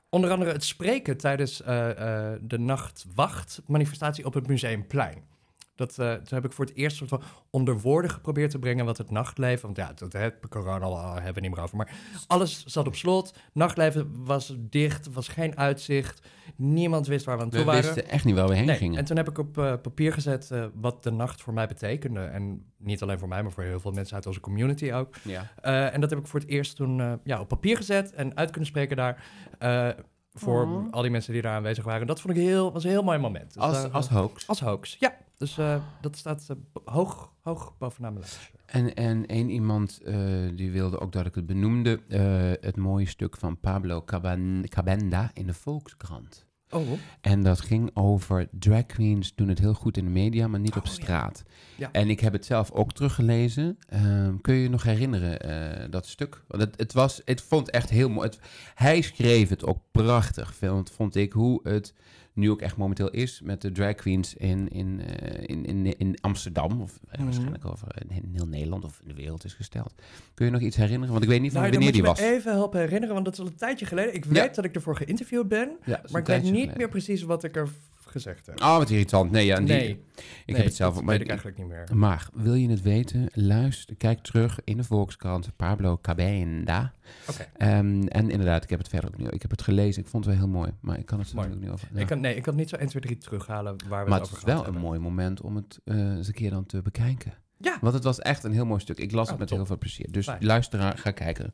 S2: onder andere het spreken tijdens eh, eh, de nachtwacht-manifestatie op het Museumplein. Dat, eh, toen heb ik voor het eerst soort van onder woorden geprobeerd te brengen wat het nachtleven... Want ja, dat heb corona al, hebben we het niet meer over. Maar alles zat op slot. Nachtleven was dicht, was geen uitzicht. Niemand wist waar we aan toe
S1: we
S2: waren.
S1: wisten echt niet waar we heen
S2: Nee,
S1: gingen.
S2: En toen heb ik op eh, papier gezet eh, wat de nacht voor mij betekende. En niet alleen voor mij, maar voor heel veel mensen uit onze community ook.
S1: Ja.
S2: Eh, en dat heb ik voor het eerst toen eh, ja, op papier gezet en uit kunnen spreken daar. eh, voor
S1: Oh.
S2: al die mensen die daar aanwezig waren. Dat vond ik heel, was een heel mooi moment. Dus
S1: Als,
S2: daar-
S1: als hoax.
S2: als hoax, ja. Dus eh, dat staat eh, bo- hoog, hoog bovenaan mijn lijst.
S1: En, en één iemand eh, die wilde ook dat ik het benoemde. eh, het mooie stuk van Pablo Caban- Cabenda in de Volkskrant.
S2: Oh,
S1: En dat ging over drag queens doen het heel goed in de media, maar niet op
S2: Oh, ja.
S1: straat.
S2: Ja.
S1: En ik heb het zelf ook teruggelezen. Ehm, kun je je nog herinneren eh, dat stuk? Want het, het was, het vond echt heel mooi. Het- hij schreef het ook prachtig. Want vond ik hoe het nu ook echt momenteel is met de drag queens in, in, eh, in, in, in Amsterdam. Of eh,
S2: Mhm.
S1: waarschijnlijk over in, in heel Nederland of in de wereld is gesteld. Kun je nog iets herinneren? Want ik weet niet van
S2: nou, dan
S1: wanneer
S2: moet je
S1: die
S2: me
S1: was.
S2: even helpen herinneren, want dat is al een tijdje geleden. Ik
S1: Ja.
S2: weet dat ik ervoor geïnterviewd ben,
S1: Ja, dat is
S2: maar
S1: een
S2: ik weet niet
S1: tijdje geleden.
S2: meer precies wat ik er gezegd heb.
S1: Oh, wat irritant. Nee, ja, die-
S2: nee,
S1: ik
S2: nee,
S1: heb het zelf
S2: dat
S1: ook.
S2: weet
S1: Maar
S2: ik eigenlijk niet meer.
S1: Maar wil je het weten? Luister, kijk terug in de Volkskrant, Pablo Cabenda.
S2: Oké.
S1: Ehm, en inderdaad, ik heb het verder ook niet. Ik heb het gelezen, ik vond het wel heel mooi, maar ik kan het er
S2: Mooi.
S1: natuurlijk niet over.
S2: Ik
S1: ja.
S2: kan, nee, ik kan niet zo 1, 2, 3 terughalen waar we
S1: maar
S2: het over
S1: het is
S2: gehad
S1: wel een
S2: hebben.
S1: mooi moment om het eh, eens een keer dan te bekijken.
S2: Ja.
S1: Want het was echt een heel mooi stuk. Ik las
S2: Oh,
S1: het met
S2: top.
S1: heel veel plezier. Dus
S2: Fijn.
S1: luisteraar, ga kijken.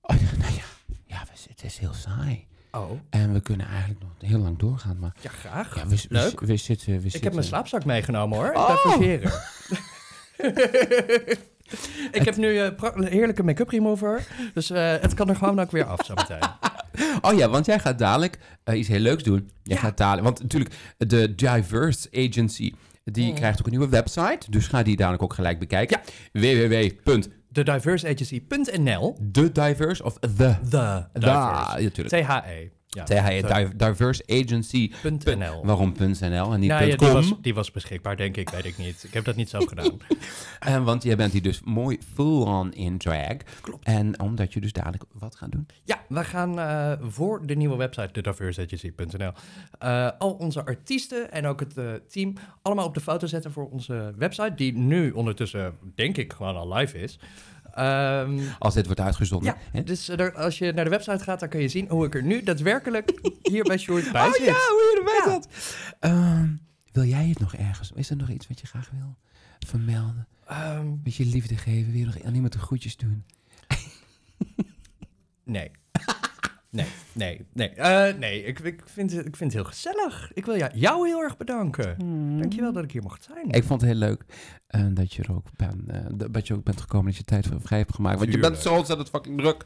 S1: Oh, ja, nou ja, ja, we- het is heel saai.
S2: Oh,
S1: En we kunnen eigenlijk nog heel lang doorgaan, maar
S2: ja, graag.
S1: ja, we, we-
S2: Leuk.
S1: we zitten... We
S2: ik heb
S1: zitten-
S2: mijn slaapzak meegenomen hoor.
S1: Oh!
S2: Ik ben fungeren. ik heb nu eh, pra- een heerlijke make-up remover. Dus eh, het kan er gewoon ook weer af zo meteen.
S1: Oh ja, want jij gaat dadelijk eh, iets heel leuks doen. Jij
S2: Ja.
S1: gaat dadelijk, want natuurlijk, de Diverse Agency, die
S2: Mm.
S1: krijgt ook een nieuwe website. Dus ga die dadelijk ook gelijk bekijken. www.de
S2: Thediverseagency.nl
S1: Diverse of The.
S2: The
S1: Da, E
S2: Diverse.
S1: ja, natuurlijk.
S2: T-H-E. E. Ja.
S1: THE, Di- Diverse Agency.
S2: Punt NL.
S1: Waarom .nl en niet
S2: Nou ja,
S1: .com?
S2: die was, die was beschikbaar, denk ik. Weet ik niet. Ik heb dat niet zelf gedaan.
S1: Eh, want jij bent hier dus mooi full-on in drag. Klopt. En omdat je dus dadelijk wat gaat doen.
S2: Ja, we gaan eh, voor de nieuwe website, thediverseagency.nl, eh, al onze artiesten en ook het eh, team allemaal op de foto zetten voor onze website, die nu ondertussen, denk ik, gewoon al live is. Ehm,
S1: Als dit wordt uitgezonden.
S2: ja,
S1: hè?
S2: dus eh, daar- als je naar de website gaat, dan kan je zien hoe ik er nu daadwerkelijk hier bij Short bij
S1: oh
S2: zit.
S1: ja, hoe je erbij
S2: Ja.
S1: zat. Ehm, wil jij het nog ergens? Is er nog iets wat je graag wil vermelden?
S2: Ehm,
S1: Een beetje liefde geven, weer nog aan iemand de groetjes doen.
S2: nee. Nee, nee, nee. Eh, nee, ik, ik, vind, het- ik vind het heel gezellig. Ik wil jou, jou heel erg bedanken. Dankjewel dat ik hier mocht zijn.
S1: Hmm. Ik vond het heel leuk eh, dat, je er ook bent, eh, dat- dat je ook bent gekomen, dat je tijd voor vrij hebt gemaakt. Want je bent
S2: Tuurlijk.
S1: zo ontzettend fucking druk.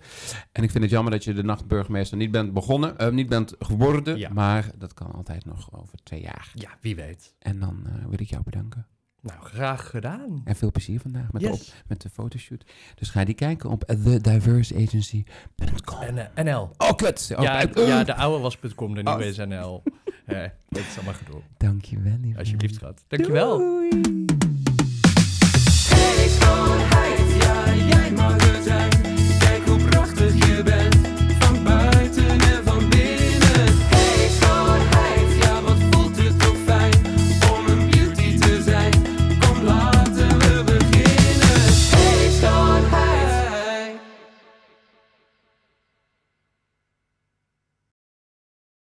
S1: En ik vind het jammer dat je de nachtburgemeester niet bent begonnen, eh, niet bent geworden.
S2: Ja.
S1: Maar dat kan altijd nog over twee jaar.
S2: Ja, wie weet.
S1: En dan eh, wil ik jou bedanken.
S2: Nou, graag gedaan.
S1: En veel plezier vandaag met, de,
S2: Yes.
S1: op, met de fotoshoot. Dus ga die kijken op thediverseagency.com.
S2: En, eh, NL.
S1: Oh, kut! Oh,
S2: Ja,
S1: eh,
S2: ja, de oude was.com, de nieuwe
S1: Oh.
S2: is NL. Eh, dat is allemaal gedoe.
S1: Dankjewel, lieve.
S2: Alsjeblieft, schat. Dankjewel.
S1: Doei.